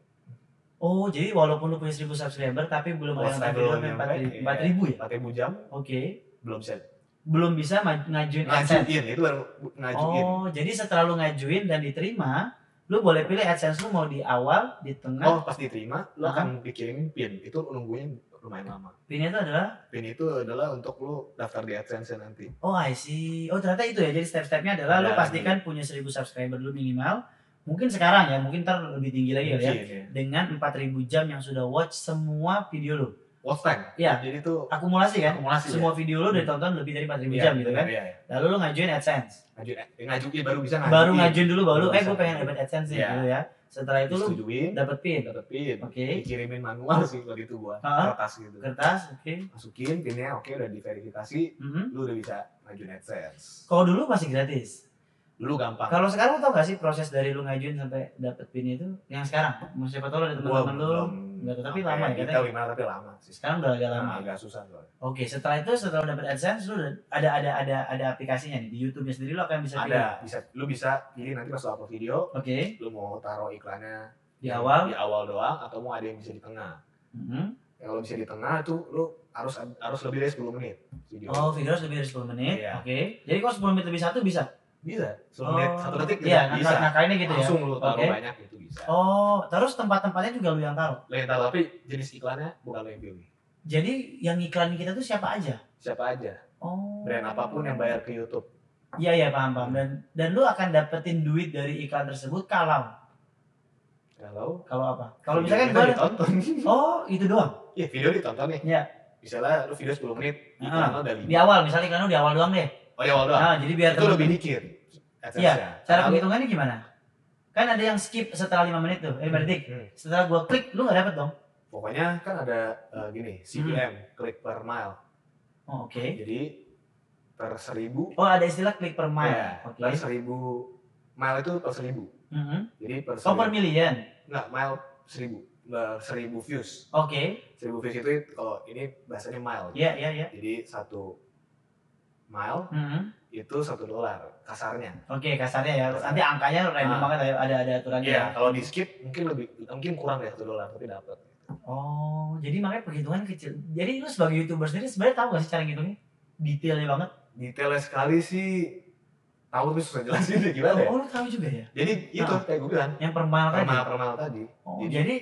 S2: Oh, jadi walaupun lu punya 1000 subscriber tapi belum
S1: Watch
S2: ada yang
S1: time
S2: tampil
S1: belum nyampe, iya.
S2: 4000 4000 ya?
S1: 4000 jam
S2: Oke.
S1: belum bisa
S2: Belum bisa ma- ngajuin AdSense.
S1: ngajuin. Itu baru ngajuin.
S2: Oh, jadi setelah lu ngajuin dan diterima, lu boleh pilih AdSense lu mau di awal, di tengah,
S1: Oh, pas diterima, lu
S2: nah. Aha.
S1: akan dikirim pin. Itu nungguin lumayan lama.
S2: pinnya itu adalah
S1: Pin itu adalah untuk lu daftar di AdSense nanti.
S2: Oh, I see. Oh, ternyata itu ya. Jadi step-stepnya adalah lu
S1: Ada.
S2: pastikan punya 1000 subscriber lu minimal. Mungkin sekarang ya, mungkin ntar lebih tinggi lagi kali ya.
S1: Mungkin, ya.
S2: Dengan 4000 jam yang sudah watch semua video lu.
S1: Watch time.
S2: Iya.
S1: Jadi itu
S2: Akumulasi kan?
S1: akumulasi. ya. Hmm.
S2: Semua video lu udah ditonton lebih dari 4000 jam gitu kan.
S1: Iya.
S2: Lalu lu ngajuin AdSense.
S1: Ngajuin, eh, ngajuin baru bisa ngajuin.
S2: Baru ngajuin dulu baru lu,
S1: Baru
S2: eh
S1: bisa.
S2: gue pengen dapat AdSense nih
S1: Iya.
S2: gitu ya. Setelah itu lu
S1: Disetujuin,
S2: dapat pin,
S1: dapet pin.
S2: Oke.
S1: Dikirimin manual sih waktu itu gua.
S2: Ah.
S1: Kertas gitu.
S2: kertas, oke.
S1: Masukin pinnya, oke udah diverifikasi,
S2: Mhm.
S1: lu udah bisa ngajuin AdSense.
S2: Kalau dulu masih gratis.
S1: Dulu gampang.
S2: Kalau sekarang lu tau gak sih proses dari lu ngajuin sampai dapet pin itu yang sekarang? Mau siapa tau lu ada teman-teman lu. nggak tahu, tapi lama ya,
S1: Kita
S2: katanya.
S1: gimana tapi lama sih.
S2: Sekarang udah agak lama.
S1: Nah, agak susah soalnya.
S2: Oke, setelah itu setelah lu dapet AdSense lu udah- ada ada ada ada aplikasinya nih di YouTube-nya sendiri lu akan bisa pilih.
S1: Ada, bisa, lu bisa pilih nanti pas lu upload video,
S2: Oke,
S1: lu mau taruh iklannya
S2: di
S1: di
S2: awal.
S1: awal doang atau mau ada yang bisa di tengah.
S2: Mhm.
S1: Yang kalau bisa di tengah tuh lu harus harus lebih dari 10 menit video.
S2: Oh, video harus lebih dari 10 menit.
S1: Iya.
S2: Oke. Jadi kalau 10 menit lebih satu bisa.
S1: Bisa. 10 menit,
S2: Oh,
S1: 1 detik
S2: Iya,
S1: gitu.
S2: nakal nakalinnya gitu ya.
S1: langsung lu taruh
S2: Oke.
S1: banyak itu bisa.
S2: Oh, terus tempat-tempatnya juga lu yang taruh.
S1: Lo yang taruh tapi jenis iklannya bukan lo yang pilih.
S2: Jadi yang iklan kita tuh siapa aja?
S1: Siapa aja,
S2: Oh.
S1: brand apapun yang bayar ke YouTube.
S2: Iya iya paham paham dan dan lu akan dapetin duit dari iklan tersebut kalau
S1: Kalau
S2: kalau apa? Kalau
S1: video
S2: misalkan
S1: kita
S2: gua
S1: ditonton.
S2: Oh, itu doang.
S1: Iya, video ditonton nih.
S2: Iya. Ah.
S1: Misalnya lu video 10 menit, iklan lo dari
S2: Di awal misalnya iklan lu di awal doang deh.
S1: Oh ya, waduh.
S2: Nah, jadi biar
S1: itu
S2: temen-
S1: lebih dikit.
S2: Iya, cara
S1: begitu
S2: penghitungannya gimana? Kan ada yang skip setelah 5 menit tuh, 5 detik. Setelah gua klik, lu gak dapet dong.
S1: Hmm. Pokoknya kan ada eh, gini, CPM, klik per mile.
S2: Oh, Hmm. oke.
S1: Jadi per seribu,
S2: Oh, ada istilah klik per mile.
S1: Iya,
S2: Oke.
S1: per seribu mile itu per seribu.
S2: Mhm.
S1: Jadi per
S2: Oh, per
S1: seribu,
S2: million.
S1: nggak Nah, mile seribu, per seribu views.
S2: Oke.
S1: seribu feet itu kalau ini bahasanya mile
S2: Iya, iya, iya.
S1: jadi satu mile
S2: Mhm.
S1: itu satu dolar kasarnya
S2: Oke, kasarnya ya. Nanti angkanya random
S1: Ah.
S2: banget ya, ada ada aturannya.
S1: Iya, kalau di skip mungkin lebih mungkin kurang ya satu dolar tapi dapat
S2: Oh, jadi makanya perhitungan kecil. Jadi lu sebagai YouTuber sendiri sebenarnya tahu gak sih cara ngitungnya? Detailnya banget.
S1: detailnya sekali sih tahu tapi susah jelasin ya gimana ya
S2: Oh, lu tahu juga ya.
S1: jadi itu
S2: Ah.
S1: kayak gue bilang
S2: Yang per mile
S1: per
S2: tadi.
S1: mile per mile tadi
S2: Oh,
S1: Jadi-
S2: jadi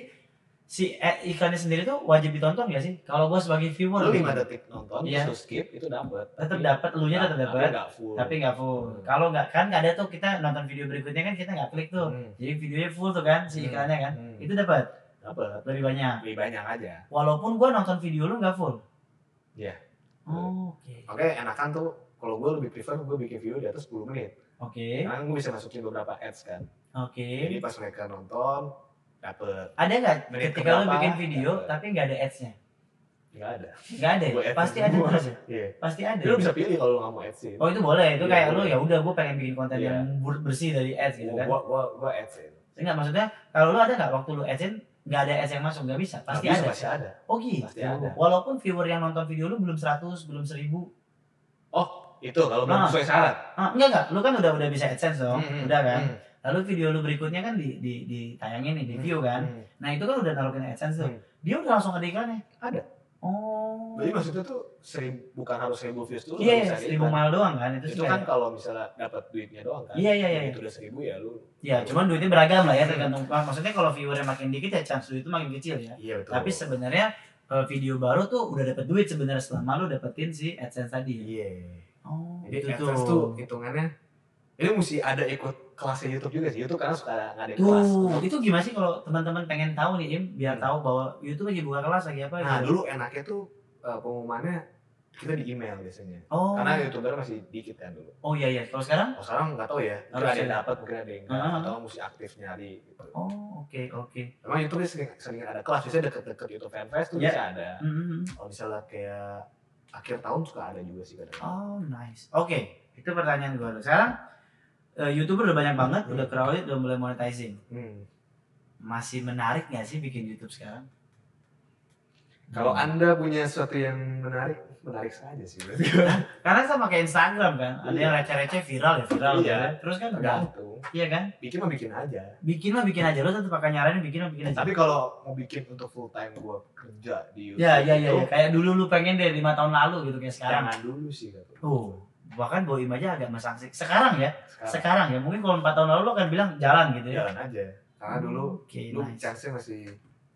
S2: si eh, iklannya sendiri tuh wajib ditonton gak sih? Kalau gue sebagai
S3: Lu
S2: viewer,
S3: lima
S2: gitu.
S3: detik nonton,
S2: Iya.
S3: terus lu skip, itu dapet.
S2: tetap
S3: Tapi-
S2: dapat, elunya tetap
S1: Nah,
S3: tapi
S2: dapat,
S3: nggak full.
S2: tapi nggak full.
S1: Hmm.
S2: Kalau nggak kan nggak ada tuh kita nonton video berikutnya kan kita nggak klik tuh.
S1: Hmm.
S2: Jadi videonya full tuh kan si
S1: Hmm.
S2: iklannya kan,
S1: Hmm.
S2: itu dapat
S3: dapet.
S2: lebih banyak.
S3: Lebih banyak aja.
S2: Walaupun gue nonton video lu nggak full.
S3: Iya.
S2: Oh, Oke.
S1: Makanya enakan tuh kalau gue lebih prefer gue bikin video di atas 10 menit.
S2: Oke.
S1: Karena gue bisa masukin beberapa ads kan.
S2: Oke.
S1: Jadi pas mereka nonton dapet
S2: Ada nggak
S3: Menit
S2: ketika lu
S3: keberapa?
S2: bikin video
S3: Dapat.
S2: tapi nggak ada ads-nya?
S1: nggak ada.
S2: Nggak ada. ya?
S1: Gua ads
S2: Pasti ada
S1: semua.
S2: terus ya.
S1: Iya.
S2: Pasti ada.
S1: Jadi lu bisa pilih kalau lu nggak mau adsin.
S2: Oh itu boleh, itu
S1: Iya,
S2: kayak lu
S1: boleh.
S2: ya udah gue pengen bikin konten
S1: Iya.
S2: yang bur- bersih dari ads gitu
S1: Gua
S2: kan.
S1: gua gua, gua adsin.
S2: Enggak maksudnya kalau lu ada nggak waktu lu adsin nggak ada ads yang masuk nggak bisa pasti
S1: Nggak bisa,
S2: ada.
S1: Pasti ada.
S2: Oh gitu.
S1: Pasti ada.
S2: Walaupun viewer yang nonton video lu belum 100, belum 1000.
S1: Oh,
S3: Itu kalau belum
S2: Nah.
S3: sesuai syarat.
S2: Ah, enggak enggak, lu kan udah udah bisa AdSense dong.
S1: Mm-mm.
S2: Udah kan?
S1: Mm.
S2: Lalu video lu berikutnya kan di di ditayangin nih, di view kan.
S1: Mm.
S2: Nah, itu kan udah naruhin AdSense tuh.
S1: Hmm.
S2: Dia udah langsung ada iklannya.
S1: Ada.
S2: Oh.
S1: Jadi maksudnya tuh seribu, bukan harus seribu views dulu.
S2: Iya,
S1: bisa
S2: iya,
S1: ada
S2: seribu
S1: iklan.
S2: mal doang kan itu
S1: Itu
S2: sih
S1: kan
S2: kayak-
S1: kalau misalnya dapat duitnya doang kan.
S2: Iya, iya, iya.
S1: Itu udah seribu ya lu.
S2: Iya, cuman duitnya beragam lah ya tergantung. Maksudnya kalau viewernya makin dikit ya chance duit itu makin kecil ya.
S1: Iya betul.
S2: Tapi sebenarnya eh, video baru tuh udah dapet duit sebenarnya selama lu dapetin si AdSense tadi ya.
S1: Iya.
S2: Oh,
S1: Jadi AdSense tuh hitungannya ini mesti ada ikut kelasnya YouTube juga sih. YouTube karena suka ngadain kelas.
S2: Tuh, itu gimana sih kalau teman-teman pengen tahu nih, Im, biar
S1: Hmm.
S2: tahu bahwa YouTube lagi buka kelas lagi apa
S1: Nah
S2: gitu.
S1: dulu enaknya tuh eh, pengumumannya kita di email biasanya.
S2: Oh.
S1: Karena youtuber masih dikit kan dulu.
S2: Oh iya iya, kalau sekarang?
S1: Kalau sekarang nggak tahu ya. Mungkin
S2: Harus
S1: ada yang
S2: ya.
S1: dapat, mungkin ada yang nggak.
S2: Ah.
S1: Atau mesti aktif nyari. Gitu.
S2: Oh, oke oke.
S1: Emang YouTube sering, sering ada kelas. Biasanya deket-deket YouTube fanfest tuh
S2: Iya.
S1: bisa ada.
S2: Mhm.
S1: Kalau misalnya kayak akhir tahun suka ada juga sih kadang.
S2: Oh, nice. Oke, itu pertanyaan gua. dulu. Sekarang eh, YouTuber udah banyak banget,
S1: Hmm.
S2: udah crowded, udah mulai monetizing.
S1: Hmm.
S2: Masih menarik nggak sih bikin YouTube sekarang? Hmm.
S1: Kalau anda punya sesuatu yang menarik, menarik saja sih.
S2: Karena sama kayak Instagram kan, ada
S1: Iya.
S2: yang receh-receh viral ya viral
S1: Iya.
S2: gitu ya. Terus kan udah,
S1: Tergantung.
S2: iya kan?
S1: Bikin mah bikin aja.
S2: Bikin lah bikin aja lo tetap akan nyaranin bikin lah bikin aja.
S1: Eh, Tapi kalau mau bikin untuk full time gua kerja di YouTube,
S2: Ya, ya, ya,
S1: itu
S2: ya. Kayak dulu lu pengen deh lima tahun lalu gitu kayak sekarang. Oh.
S1: jangan dulu sih gitu. kata.
S2: Tuh, bahkan Boim aja agak mesangsi. Sekarang ya,
S1: Sekarang
S2: sekarang ya. Mungkin kalau empat tahun lalu lo akan bilang jalan gitu ya.
S1: jalan aja. Karena dulu
S2: Oke,
S1: lu
S2: nice.
S1: chance-nya masih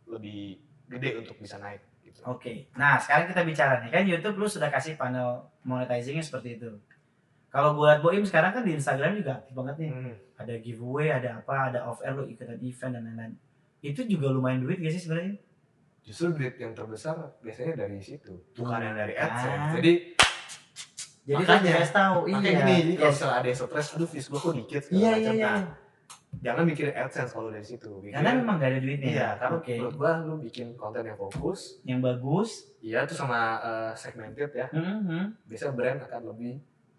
S1: lebih gede untuk bisa naik gitu.
S2: Oke, nah sekarang kita bicara nih kan YouTube lu sudah kasih panel monetizingnya seperti itu. Kalau buat Boim sekarang kan di Instagram juga aktif banget nih.
S1: Hmm.
S2: Ada giveaway, ada apa, ada off air lu ikutan event dan lain-lain. Itu juga lumayan duit gak sih sebenarnya?
S1: Justru duit yang terbesar biasanya dari situ, bukan yang dari
S2: Bukan.
S1: AdSense. Jadi
S2: Jadi
S1: Makanya.
S2: kan guys tahu
S1: makanya gini,
S2: iya.
S1: jadi kalau
S2: Yes.
S1: misalnya ada yang stres, aduh views gua kok dikit segala
S2: Iya, iya,
S1: macam.
S2: iya.
S1: Nah, jangan mikirin AdSense kalau dari situ. Mikirin-
S2: Karena memang gak ada duitnya.
S1: iya, karena
S2: Oke.
S1: menurut gua lu bikin konten yang fokus,
S2: Yang bagus.
S1: iya tuh sama eh, segmented ya.
S2: Mhm.
S1: biasanya brand akan lebih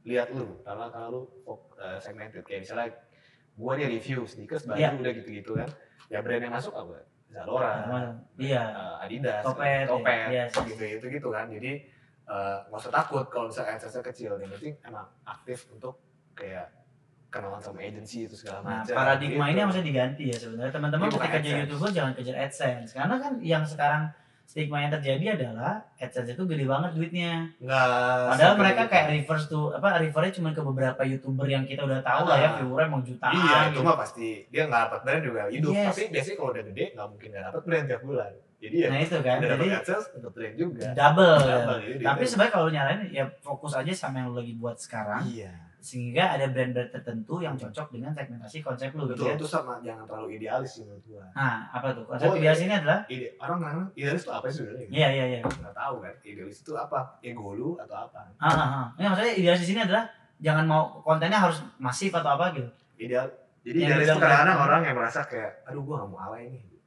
S1: lihat lu karena karena lu fok- eh, segmented kayak misalnya gua nih review sneakers baju
S2: Iya.
S1: udah gitu-gitu kan ya brand yang masuk apa Zalora
S2: Nah, Iya.
S1: eh, Adidas
S2: Topet,
S1: Topet,
S2: iya, iya.
S1: gitu gitu gitu kan jadi eh, nggak usah takut kalau misalnya AdSense kecil yang penting emang aktif untuk kayak kenalan sama agency itu segala
S2: Nah,
S1: macam
S2: paradigma
S1: gitu.
S2: ini harus diganti ya sebenarnya. Teman-teman
S1: Ini bukan
S2: ketika jadi
S1: AdSense.
S2: YouTuber jangan kejar AdSense. Karena kan yang sekarang stigma yang terjadi adalah AdSense itu gede banget duitnya.
S1: nggak
S2: Padahal
S1: seperti
S2: mereka
S1: itu.
S2: kayak reverse tuh apa refernya cuma ke beberapa YouTuber yang kita udah tahu lah ya
S1: Ah.
S2: viewernya mau jutaan.
S1: iya itu
S2: gitu.
S1: mah pasti dia nggak dapat brand juga hidup
S2: Yes.
S1: tapi biasanya kalau udah gede nggak mungkin nggak dapat brand tiap bulan jadi ya
S2: Nah itu kan.
S1: ada
S2: Jadi
S1: dapat AdSense dapat brand juga
S2: iya.
S1: Iya.
S2: double.
S1: Double, jadi
S2: Tapi
S1: double.
S2: sebenarnya kalau lu nyalain ya fokus aja sama yang lu lagi buat sekarang
S1: iya
S2: sehingga ada brand-brand tertentu yang cocok dengan segmentasi konsep lu gitu
S1: betul
S2: ya.
S1: itu sama jangan terlalu idealis sih menurut gua
S2: Nah, apa tuh? Konsep
S1: Oh,
S2: oh,
S1: iya.
S2: ini adalah
S1: Ide, orang nanya idealis itu apa sih sebenarnya
S2: Iya, iya, iya.
S1: nggak tahu kan idealis itu apa ego lu atau apa
S2: Ah, ah, ah. Ini maksudnya idealis di sini adalah jangan mau kontennya harus masif atau apa gitu.
S1: ideal jadi idealis
S2: Yang
S1: itu
S2: dibilang
S1: kadang-kadang
S2: brand.
S1: orang yang merasa kayak aduh gua nggak mau alay nih gitu.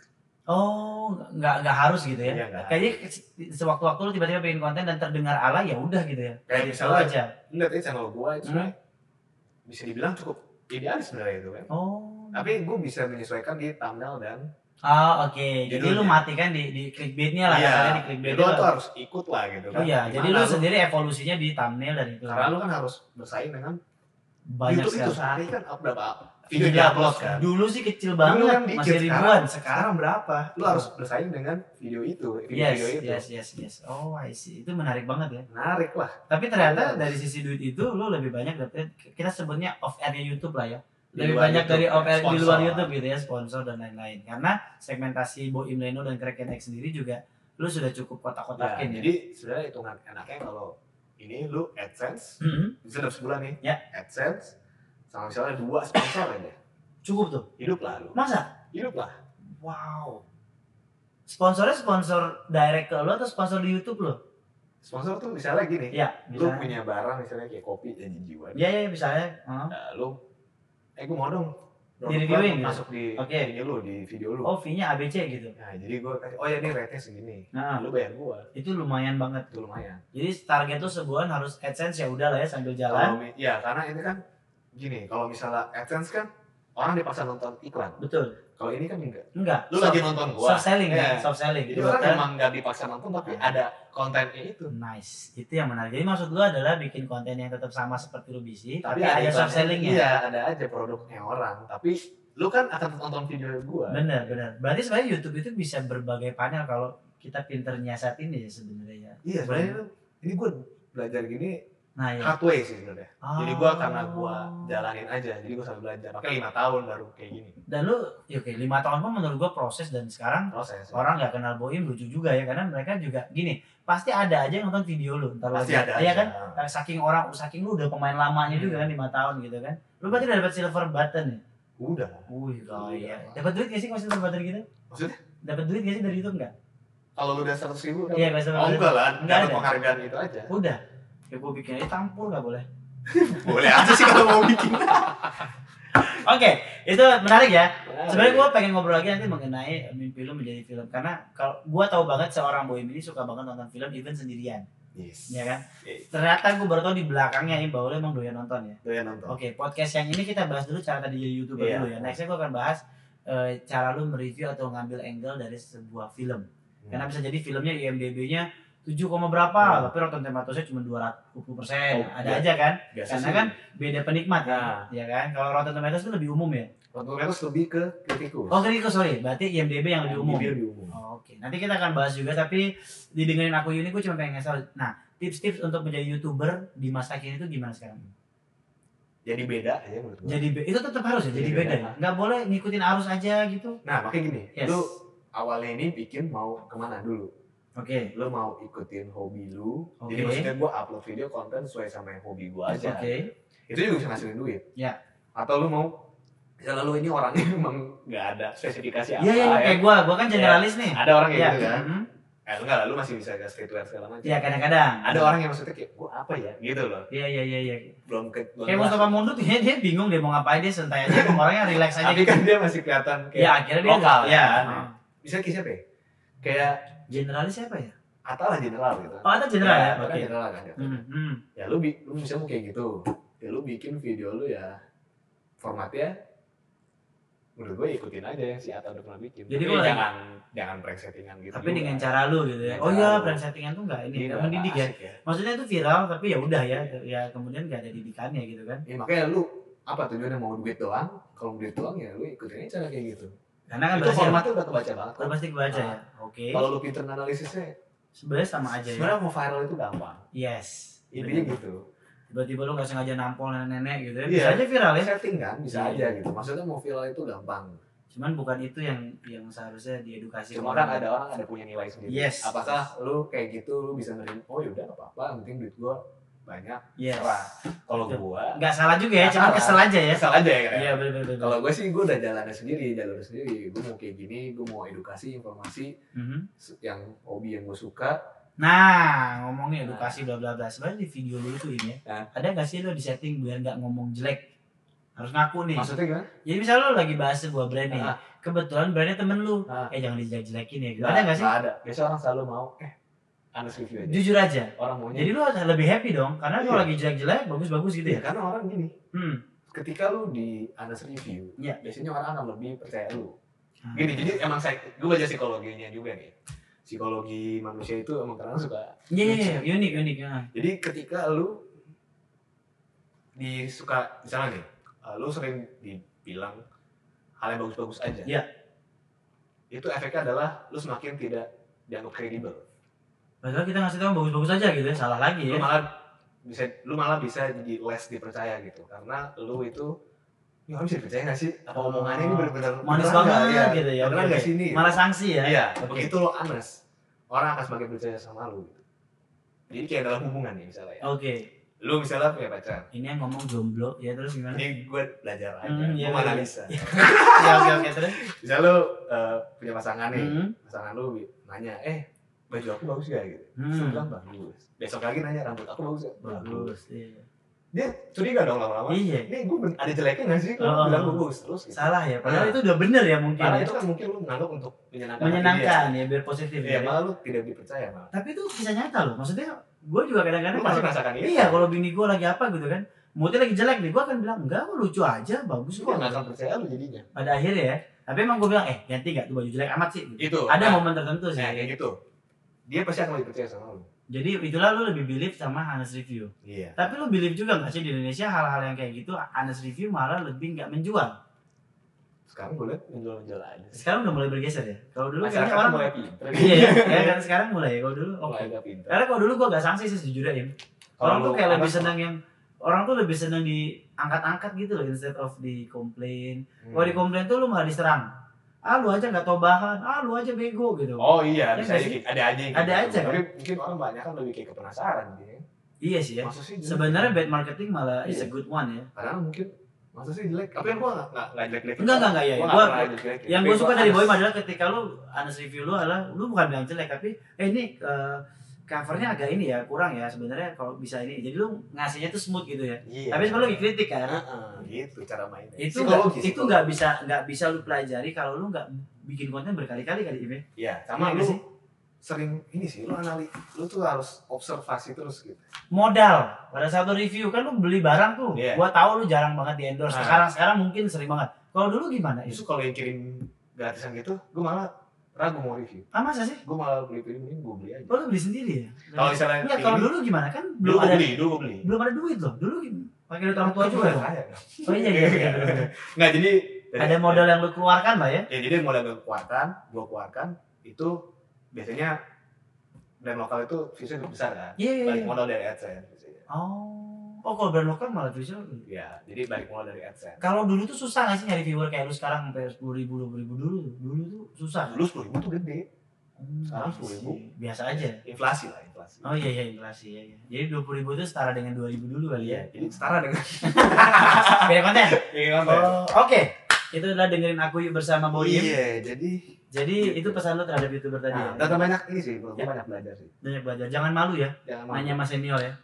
S2: Oh, nggak nggak harus gitu ya.
S1: Iya, nggak
S2: Kayaknya se- sewaktu-waktu lu tiba-tiba bikin konten dan terdengar ala ya udah gitu ya.
S1: Kayak
S2: Jadi
S1: misalnya-
S2: selalu aja. Hmm.
S1: lihat aja channel gua itu sebenarnya bisa dibilang cukup idealis sebenarnya itu kan
S2: Oh.
S1: tapi gua bisa menyesuaikan di thumbnail dan
S2: Ah, oke. Jadi
S1: Judulnya.
S2: lu matikan di di clickbaitnya lah
S1: Iya.
S2: kasarnya di clickbait
S1: itu tuh harus ikut lah gitu kan
S2: Iya,
S1: Gimana
S2: jadi lu sendiri evolusinya di thumbnail dan itu.
S1: karena lu kan harus bersaing dengan
S2: banyak
S1: YouTube itu
S2: sekali.
S1: sehari kan up berapa video di upload kan
S2: Dulu sih kecil
S1: Dulu
S2: banget,
S1: kan dikit,
S2: masih ribuan. Sekarang,
S1: berapa lu harus bersaing dengan video itu video,
S2: Iya. yes,
S1: video itu
S2: yes, yes, yes. Oh, I see. Itu menarik banget ya.
S1: menarik lah
S2: Tapi ternyata dari sisi duit itu lu lebih banyak dapet kita sebutnya off airnya YouTube lah ya.
S3: Di
S2: lebih
S3: luar
S2: banyak
S3: YouTube,
S2: dari
S3: ya,
S2: OPL di luar
S3: sponsor.
S2: YouTube gitu ya sponsor dan lain-lain karena segmentasi Boim Leno dan Kraken X sendiri juga lu sudah
S1: Nah,
S2: cukup kotak-kotakin ya.
S1: jadi sebenarnya hitungan enaknya kalau ini lu AdSense,
S2: Mhm,
S1: bisa dapat sebulan nih.
S2: Ya.
S1: AdSense sama misalnya dua sponsor aja.
S2: cukup tuh.
S1: Hidup lah lu.
S2: Masa?
S1: Hidup lah.
S2: Wow. Sponsornya sponsor direct ke lu atau sponsor di YouTube lu?
S1: Sponsor tuh misalnya gini,
S2: Ya,
S1: lu
S2: misalnya.
S1: punya barang misalnya kayak kopi janji jiwa.
S2: Ya, ya, misalnya. Heeh.
S1: Nah, lu eh gue mau dong
S2: Di
S1: produk
S2: reviewing
S1: gua
S2: gitu?
S1: masuk di
S2: Oke.
S1: ini lu di video lu.
S2: Oh, fee-nya ABC gitu.
S1: Nah, jadi gue kasih oh ya ini rate-nya segini.
S2: Nah,
S1: Lu bayar gua.
S2: itu lumayan banget.
S1: Itu lumayan.
S2: Jadi target tuh sebulan harus AdSense ya udah lah ya sambil jalan.
S1: Kalau mi- ya karena ini kan gini, kalau misalnya AdSense kan orang dipaksa nonton iklan.
S2: Betul.
S1: Kalau ini kan enggak.
S2: Enggak.
S3: Lu lagi nonton gua.
S2: soft selling
S3: Iya.
S2: ya, soft selling.
S1: Jadi orang
S2: Bukan-
S1: memang nggak dipaksa nonton tapi ada kontennya itu.
S2: Nice, itu yang menarik. Jadi maksud gua adalah bikin konten yang tetap sama seperti Rubisi, tapi,
S1: ada
S2: ada ya? soft
S1: iklannya.
S2: sellingnya.
S1: Iya, ada aja produknya orang. Tapi lu kan akan nonton video gua.
S2: Bener, bener. Berarti sebenarnya YouTube itu bisa berbagai panel kalau kita pinter nyiasatin ya sebenarnya. ya.
S1: Iya, sebenarnya lu- ini gua belajar gini
S2: Nah ya. Oh.
S1: hardway sih sebenarnya. Jadi gua karena gua
S2: jalan.
S1: jalanin aja, jadi gua sambil belajar. Pakai lima tahun baru kayak gini.
S2: Dan lu, ya oke, lima tahun pun menurut gua proses dan sekarang
S1: Proses.
S2: orang nggak kenal Boim lucu juga ya karena mereka juga gini pasti ada aja yang nonton video lu entar lu
S1: pasti
S2: lihat.
S1: ada.
S2: Iya
S1: aja. Ah.
S2: kan saking orang saking lu udah pemain lamanya
S1: Hmm.
S2: juga kan lima tahun gitu kan lu berarti udah dapat silver button ya
S1: Udah.
S2: Wih, gaya.
S1: Iya.
S2: Dapat duit gak sih kalau silver button gitu?
S1: Maksudnya?
S2: Dapat duit gak sih dari YouTube enggak?
S1: Kalau lu udah seratus ribu,
S2: Iya, kalau silver
S1: oh
S2: button.
S1: enggak lah,
S2: Enggak
S1: enggak
S2: ada.
S1: ada penghargaan itu aja.
S2: Udah. Ya gue bikin aja tampur gak boleh.
S1: Boleh aja sih kalau mau bikin.
S2: Oke, itu menarik ya. Sebenarnya gue pengen ngobrol lagi nanti mengenai mimpi lu menjadi film karena kalau gue tahu banget seorang boy ini suka banget nonton film even sendirian,
S1: Yes.
S2: ya kan?
S1: Iya.
S2: Ternyata gue baru tau di belakangnya ini bahwa lu emang doyan nonton ya.
S1: Doyan nonton.
S2: Oke, podcast yang ini kita bahas dulu cara tadi jadi youtuber
S1: Iya.
S2: dulu ya. Nextnya gue akan bahas eh, cara lu mereview atau ngambil angle dari sebuah film. Karena bisa jadi filmnya IMDb-nya 7, koma berapa,
S1: Hmm.
S2: tapi Rotten Tomatoes-nya cuma 220
S1: Oh,
S2: ada
S1: iya.
S2: aja kan?
S1: Biasa
S2: Karena
S1: sih.
S2: kan beda penikmat kan?
S1: Nah.
S2: ya kan? Kalau Rotten Tomatoes itu lebih umum ya.
S1: Rotten Tomatoes lebih ke kritikus.
S2: Oh, kritikus sorry, berarti IMDb yang lebih umum.
S1: Dia lebih umum.
S2: Oh, Oke, nanti kita akan bahas juga tapi didengerin aku ini gue cuma pengen ngasih tau. Nah, tips-tips untuk menjadi youtuber di masa kini itu gimana sekarang?
S1: Jadi beda aja menurut gue.
S2: Jadi be- itu tetap harus ya, jadi
S1: Jadi
S2: beda.
S1: beda.
S2: ya? Nggak boleh ngikutin arus aja gitu.
S1: Nah makanya gini,
S2: Yes.
S1: lu awalnya ini bikin mau kemana dulu?
S2: Oke.
S1: Lu mau ikutin hobi lu,
S2: Oke.
S1: jadi maksudnya gua upload video konten sesuai sama yang hobi gua
S2: Oke.
S1: aja. Itu juga bisa ngasilin duit.
S2: Ya.
S1: Atau lu mau, misalnya lu ini orangnya emang nggak ada spesifikasi apa
S2: Iya, iya, iya, kayak gua, gua kan generalis nih.
S1: ya, Ada orang yang
S2: Iya,
S1: gitu kan?
S2: mhm.
S1: Eh enggak lah, lu masih bisa gas streetwear segala macam.
S2: Iya, kadang-kadang.
S1: Ada orang yang maksudnya kayak, gua apa ya? Gitu loh.
S2: Iya, iya, iya, iya.
S1: Belum ke... belum
S2: Kayak
S1: jelas.
S2: Mustafa Mundur tuh dia, dia bingung dia mau ngapain dia santai aja emang orangnya relax aja
S1: Tapi
S2: gitu.
S1: kan dia masih kelihatan
S2: Ya
S1: kayak...
S2: akhirnya dia
S1: lokal,
S2: ya.
S1: kan? Misalnya kayak siapa ya? Kayak
S2: Generalis siapa ya?
S1: Atta lah general gitu.
S2: Oh, ada general ya.
S1: Atta
S2: Oke.
S1: kan general kan.
S2: Hmm, hmm.
S1: ya lu bi lu bisa mau kayak gitu ya lu bikin video lu ya formatnya menurut gue ikutin aja yang si Atta udah pernah bikin
S2: Jadi
S1: Tapi
S2: kalau-
S1: jangan jangan prank settingan gitu
S2: Tapi
S1: juga.
S2: dengan cara lu gitu ya.
S1: Dengan
S2: Oh
S1: cara
S2: iya,
S1: lu.
S2: brand settingan tuh enggak ini,
S1: Iya,
S2: enggak mendidik ya.
S1: asik ya.
S2: Maksudnya itu viral tapi ya udah ya, ya kemudian enggak ada didikannya gitu kan.
S1: Ya, makanya lu apa tujuannya mau duit doang kalau mau duit doang ya lu ikutin aja cara kayak gitu
S2: Karena kan
S1: itu
S2: berhasil.
S1: formatnya udah kebaca banget
S2: Udah
S1: kok.
S2: pasti kebaca
S1: Ah.
S2: ya. Oke.
S1: kalau lu pinter analisisnya
S2: Sebenarnya sama aja ya.
S1: sebenarnya mau viral itu gampang
S2: Yes.
S1: intinya gitu
S2: Tiba-tiba lu nggak sengaja nampol nenek-nenek gitu ya.
S1: Iya.
S2: Bisa aja viral ya.
S1: setting kan bisa
S2: Iya.
S1: aja gitu maksudnya mau viral itu gampang
S2: Cuman bukan itu yang yang seharusnya diedukasi.
S1: Cuma kan ada orang ada punya nilai sendiri.
S2: Iya. Yes.
S1: Apakah lu kayak gitu lu bisa nerima? Oh yaudah nggak apa-apa, yang penting duit gua banyak.
S2: Yes.
S1: Serah. Kalau
S2: Betul.
S1: gua
S2: Nggak salah juga ya,
S1: Nggak
S2: cuman
S1: salah.
S2: kesel aja ya.
S1: salah aja ya kan.
S2: Iya, benar benar. benar.
S1: Kalau gua sih gua udah jalannya sendiri, jalur sendiri. Gua mau kayak gini, gua mau edukasi, informasi
S2: Mhm.
S1: se- yang hobi yang gua suka.
S2: Nah, ngomongin edukasi bla bla bla. Sebenarnya di video lu itu ini
S1: Hah?
S2: ya, ada nggak sih lu di setting biar nggak ngomong jelek? Harus ngaku nih.
S1: Maksudnya gimana?
S2: Jadi misalnya lu lagi bahas sebuah brand nih,
S1: Ah.
S2: kebetulan brandnya temen lu,
S1: Ah.
S2: eh jangan dijelek-jelekin ya. Gitu. Ada nggak sih?
S1: Nggak ada. Biasa orang selalu mau eh anas review aja.
S2: Jujur aja.
S1: Orang maunya.
S2: Jadi lu harus lebih happy dong, karena kalau
S1: Iya.
S2: lagi jelek-jelek, bagus-bagus gitu
S1: Iya,
S2: ya.
S1: karena orang gini.
S2: Hmm.
S1: Ketika lu di anas review,
S2: Iya.
S1: biasanya orang akan lebih percaya lu.
S2: Ah.
S1: Gini, jadi emang saya gue belajar psikologinya juga nih. Psikologi manusia itu emang kadang suka
S2: Iya, iya, iya, unik, unik. ah.
S1: Jadi ketika lu disuka misalnya nih, uh, lu sering dibilang hal yang bagus-bagus aja.
S2: Iya.
S1: Itu efeknya adalah lu semakin tidak dianggap kredibel.
S2: Padahal kita ngasih tau yang bagus-bagus aja gitu ya, salah lagi
S1: Lu
S2: ya.
S1: malah bisa lu malah bisa jadi less dipercaya gitu karena lu itu ini orang bisa dipercaya nggak sih apa
S2: Oh.
S1: omongannya ini benar-benar
S2: Manis
S1: beneran
S2: banget
S1: nggak?
S2: gitu ya.
S1: beneran
S2: oke,
S1: nggak
S2: oke.
S1: sih ini
S2: Malah sanksi ya.
S3: Iya.
S2: Oke.
S1: begitu lo anes orang akan semakin percaya sama lo gitu. jadi kayak dalam hubungan nih misalnya ya.
S2: Oke.
S1: lo misalnya punya pacar
S2: Ini yang ngomong jomblo ya terus gimana?
S1: ini gue belajar aja
S2: Hmm, iya,
S1: gue mana
S2: iya.
S1: bisa
S2: ya oke oke terus.
S1: misalnya lo eh, punya pasangan nih
S2: Hmm.
S1: pasangan lo nanya eh baju aku bagus gak gitu
S2: Hmm.
S1: Terus lu bilang bagus besok lagi nanya rambut aku bagus gak bagus
S2: Bagus. Iya.
S1: dia curiga dong lama-lama
S2: Iya.
S1: ini gue ben- ada jeleknya gak sih kalau
S2: Oh.
S1: bilang bagus terus gitu.
S2: Salah ya. Padahal
S1: Nah.
S2: itu udah bener ya mungkin.
S1: Karena
S2: ya.
S1: itu kan mungkin lu menganggap untuk menyenangkan hati
S2: Menyenangkan ya biar positif.
S1: dia. Iya,
S2: ya.
S1: malah lu tidak dipercaya malah.
S2: Tapi itu kisah nyata loh. Maksudnya gue juga kadang-kadang
S1: Lu masih merasakan itu.
S2: Iya, kalau bini gue lagi apa gitu kan, moodnya lagi jelek nih, gue akan bilang enggak, gua lucu aja, bagus
S1: gue
S2: kok.
S1: nggak akan percaya lu jadinya.
S2: Pada akhirnya ya, tapi emang gue bilang, eh ganti gak tuh baju jelek amat sih. Gitu.
S1: Itu.
S2: Ada
S1: nah,
S2: momen tertentu sih.
S1: nah, kayak gitu. Dia pasti akan lebih percaya sama lu.
S2: Jadi itulah lu lebih believe sama honest review.
S1: Iya.
S2: Tapi lu believe juga gak sih di Indonesia hal-hal yang kayak gitu, honest review malah lebih nggak menjual.
S1: Sekarang gue liat menjual-menjual aja.
S2: Sekarang udah mulai bergeser ya. Kalau dulu
S1: Masyarakat
S2: kayaknya orang
S1: mulai pinter.
S2: Iya, ya, ya kan sekarang mulai ya. Kalau dulu, oke.
S1: Mulai agak pinter.
S2: Karena kalau dulu gue gak sanksi sih sejujurnya Im. Orang tuh
S1: lu
S2: kayak lebih
S1: anak-
S2: seneng yang orang tuh lebih seneng diangkat-angkat gitu loh instead of di complain
S1: Hmm.
S2: Kalau dikomplain tuh lu malah diserang. Ah lu aja nggak tau bahan, ah lu aja bego gitu.
S3: Oh iya,
S2: Iya
S3: bisa
S2: nggak
S3: aja.
S2: sih?
S3: Ada aja. yang
S2: Ada
S3: gitu.
S2: aja.
S1: Tapi mungkin orang banyak kan lebih kayak kepenasaran gitu ya.
S2: Iya sih ya.
S1: Masa sih jelek?
S2: Sebenarnya bad marketing malah is
S1: Iya.
S2: a good one ya.
S1: Karena mungkin masa sih jelek. Tapi kan gue nggak nggak nggak jelek-jelek.
S2: Enggak enggak enggak ya.
S1: Gua
S2: Gua,
S1: nggak pernah gitu jelek-jelek.
S2: yang
S1: Tapi
S2: gue suka dari
S1: harus-
S2: Boy adalah ketika lu honest review lu adalah lu bukan bilang jelek tapi eh ini eh, covernya agak ini ya kurang ya sebenarnya kalau bisa ini jadi lu ngasihnya tuh smooth gitu ya
S1: Iya.
S2: tapi sebenarnya lagi kritik kan
S1: Heeh, gitu cara mainnya.
S2: itu nggak
S1: Psikologis,
S2: itu nggak bisa nggak bisa lu pelajari kalau lu nggak bikin konten berkali-kali kali ini
S1: Iya, sama lu
S2: Iya nggak sih?
S1: sering ini sih lu anali lu tuh harus observasi terus gitu.
S2: modal pada satu review kan lu beli barang tuh
S3: Iya.
S2: gua tahu lu jarang banget di endorse
S1: Nah.
S2: sekarang sekarang mungkin sering banget kalau dulu gimana ya
S1: Justru kalau yang kirim gratisan gitu, gue malah ragu mau review.
S2: ah masa sih
S1: Gue malah beli beli mending gue beli aja.
S2: kalau lu beli sendiri ya
S3: Kalau misalnya
S2: Enggak,
S3: ini,
S2: kalau dulu gimana kan
S3: dulu
S2: belum
S3: gua
S2: ada
S3: beli, dulu gua beli.
S2: belum ada duit loh dulu pakai duit orang tua
S1: Kan
S2: juga
S1: gua
S2: dong.
S1: kaya.
S2: oh iya iya, iya, iya.
S3: Nggak jadi dari-
S2: ada modal yang lu keluarkan lah ya
S1: Ya jadi modal gue keluarkan, gue keluarkan itu biasanya brand lokal itu visunya lebih besar kan.
S2: iya iya
S1: Balik
S2: iya.
S1: modal dari AdSense. biasanya.
S2: oh oh kalau brand lokal malah visual
S1: Iya, jadi balik modal dari AdSense.
S2: kalau dulu tuh susah nggak sih nyari viewer kayak lu sekarang sampai sepuluh ribu dua ribu dulu dulu tuh susah
S1: Dulu sepuluh ribu Nah, tuh gede,
S2: Hmm,
S1: Sekarang
S2: iya
S1: 10.000.
S2: sih. biasa aja
S1: inflasi lah inflasi.
S2: Oh iya iya inflasi ya. iya. Jadi dua puluh ribu itu setara dengan dua ribu dulu kali ya.
S1: Iya, jadi setara dengan.
S2: Beda konten.
S1: Iya,
S2: Oh, Oke. Itu adalah dengerin aku yuk bersama Boyim.
S1: Iya, jadi
S2: Jadi itu pesan lu terhadap youtuber tadi.
S1: Nah,
S2: ya?
S1: dan banyak ini sih, gue
S2: Ya.
S1: banyak belajar sih.
S2: Banyak belajar. Jangan malu ya.
S1: Jangan mau,
S2: Nanya mas senior ya.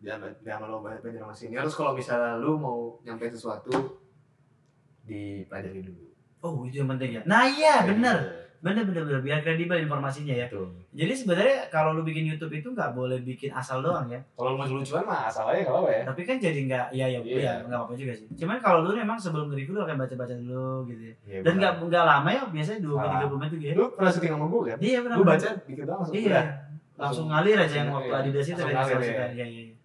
S1: jangan, jangan malu banyak belajar sama senior. Terus kalau misalnya lu mau nyampein sesuatu, dipelajari dulu.
S2: Oh itu yang penting ya. Nah iya benar.
S1: Iya,
S2: Bener bener bener. Biar kredibel informasinya ya.
S1: Gitu.
S2: Jadi sebenarnya kalau lu bikin YouTube itu nggak boleh bikin asal doang ya.
S1: Kalau lu mau lucuan mah asal aja nggak apa-apa ya.
S2: Tapi kan jadi nggak ya ya
S1: Iya.
S2: ya nggak apa-apa juga sih. Cuman kalau lu memang sebelum nge-review lu akan baca-baca dulu gitu ya.
S1: Iya,
S2: Dan
S1: benar.
S2: nggak nggak lama ya biasanya dua menit
S1: Ah.
S2: tiga puluh menit juga ya.
S1: lu pernah syuting sama gue kan?
S2: Iya benar.
S1: Gue baca dikit doang langsung
S2: Iya.
S1: udah.
S2: langsung ngalir aja yang waktu
S1: Iya,
S2: Adidas itu
S1: langsung
S2: ya,
S1: ngalir,
S2: langsung
S1: iya.
S2: kan. Iya, iya, iya.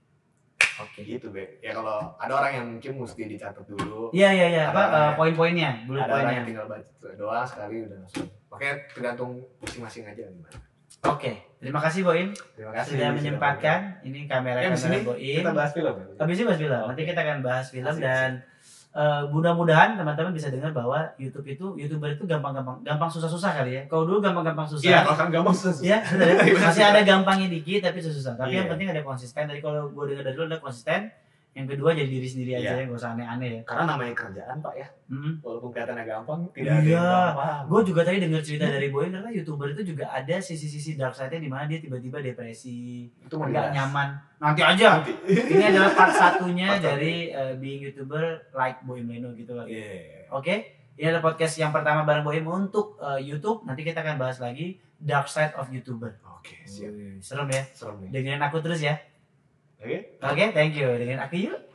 S2: Oke.
S1: Gitu be. Ya kalau ada orang yang mungkin mesti dicatat dulu.
S2: Iya iya iya apa
S1: Ada-
S2: eh, poin-poinnya, bullet
S1: Ada orang
S2: poinnya.
S1: yang tinggal baca doang sekali udah langsung. Makanya tergantung masing-masing aja gimana.
S2: Oke. Terima kasih Boim
S1: Terima kasih.
S2: sudah menyempatkan ini kamera
S1: Ya, di
S2: kamera
S1: sini
S2: Boim.
S1: Kita bahas film. ya?
S2: Habis ini bahas film. Nanti kita akan bahas film
S1: Asik,
S2: dan eh, mudah-mudahan teman-teman bisa dengar bahwa YouTube itu youtuber itu gampang-gampang gampang susah-susah kali ya. Kalau dulu gampang-gampang susah.
S1: Iya, kalau kan gampang susah.
S2: Ya, bener ya?
S1: Iya.
S2: masih ada gampangnya dikit tapi susah. Tapi
S1: Iya.
S2: yang penting ada konsisten. Tadi kalau gue dengar dari lu ada konsisten. Yang kedua jadi diri sendiri aja
S1: Iya.
S2: ya, gak usah aneh-aneh ya.
S1: Karena namanya kerjaan pak ya,
S2: Mm-mm.
S1: walaupun kelihatannya gampang, tidak ada
S2: Iya.
S1: yang gampang.
S2: Gue juga tadi dengar
S1: Hmm.
S2: cerita dari Boy ternyata youtuber itu juga ada sisi-sisi dark side-nya di mana dia tiba-tiba depresi,
S1: itu mau
S2: nggak
S1: dibahas.
S2: nyaman. Nanti aja.
S1: Oh, Nanti.
S2: Ini adalah part satunya
S1: Part satu.
S2: dari eh, being youtuber like Boy Meno gitu kali.
S1: Iya.
S2: Oke, ini adalah podcast yang pertama bareng Boy Meno untuk eh, YouTube. Nanti kita akan bahas lagi dark side of youtuber.
S1: Oke, siap.
S2: Wih, Serem ya.
S1: Serem nih.
S2: Dengerin aku terus ya.
S1: Oke.
S2: Oke, thank you. Dengerin aku yuk.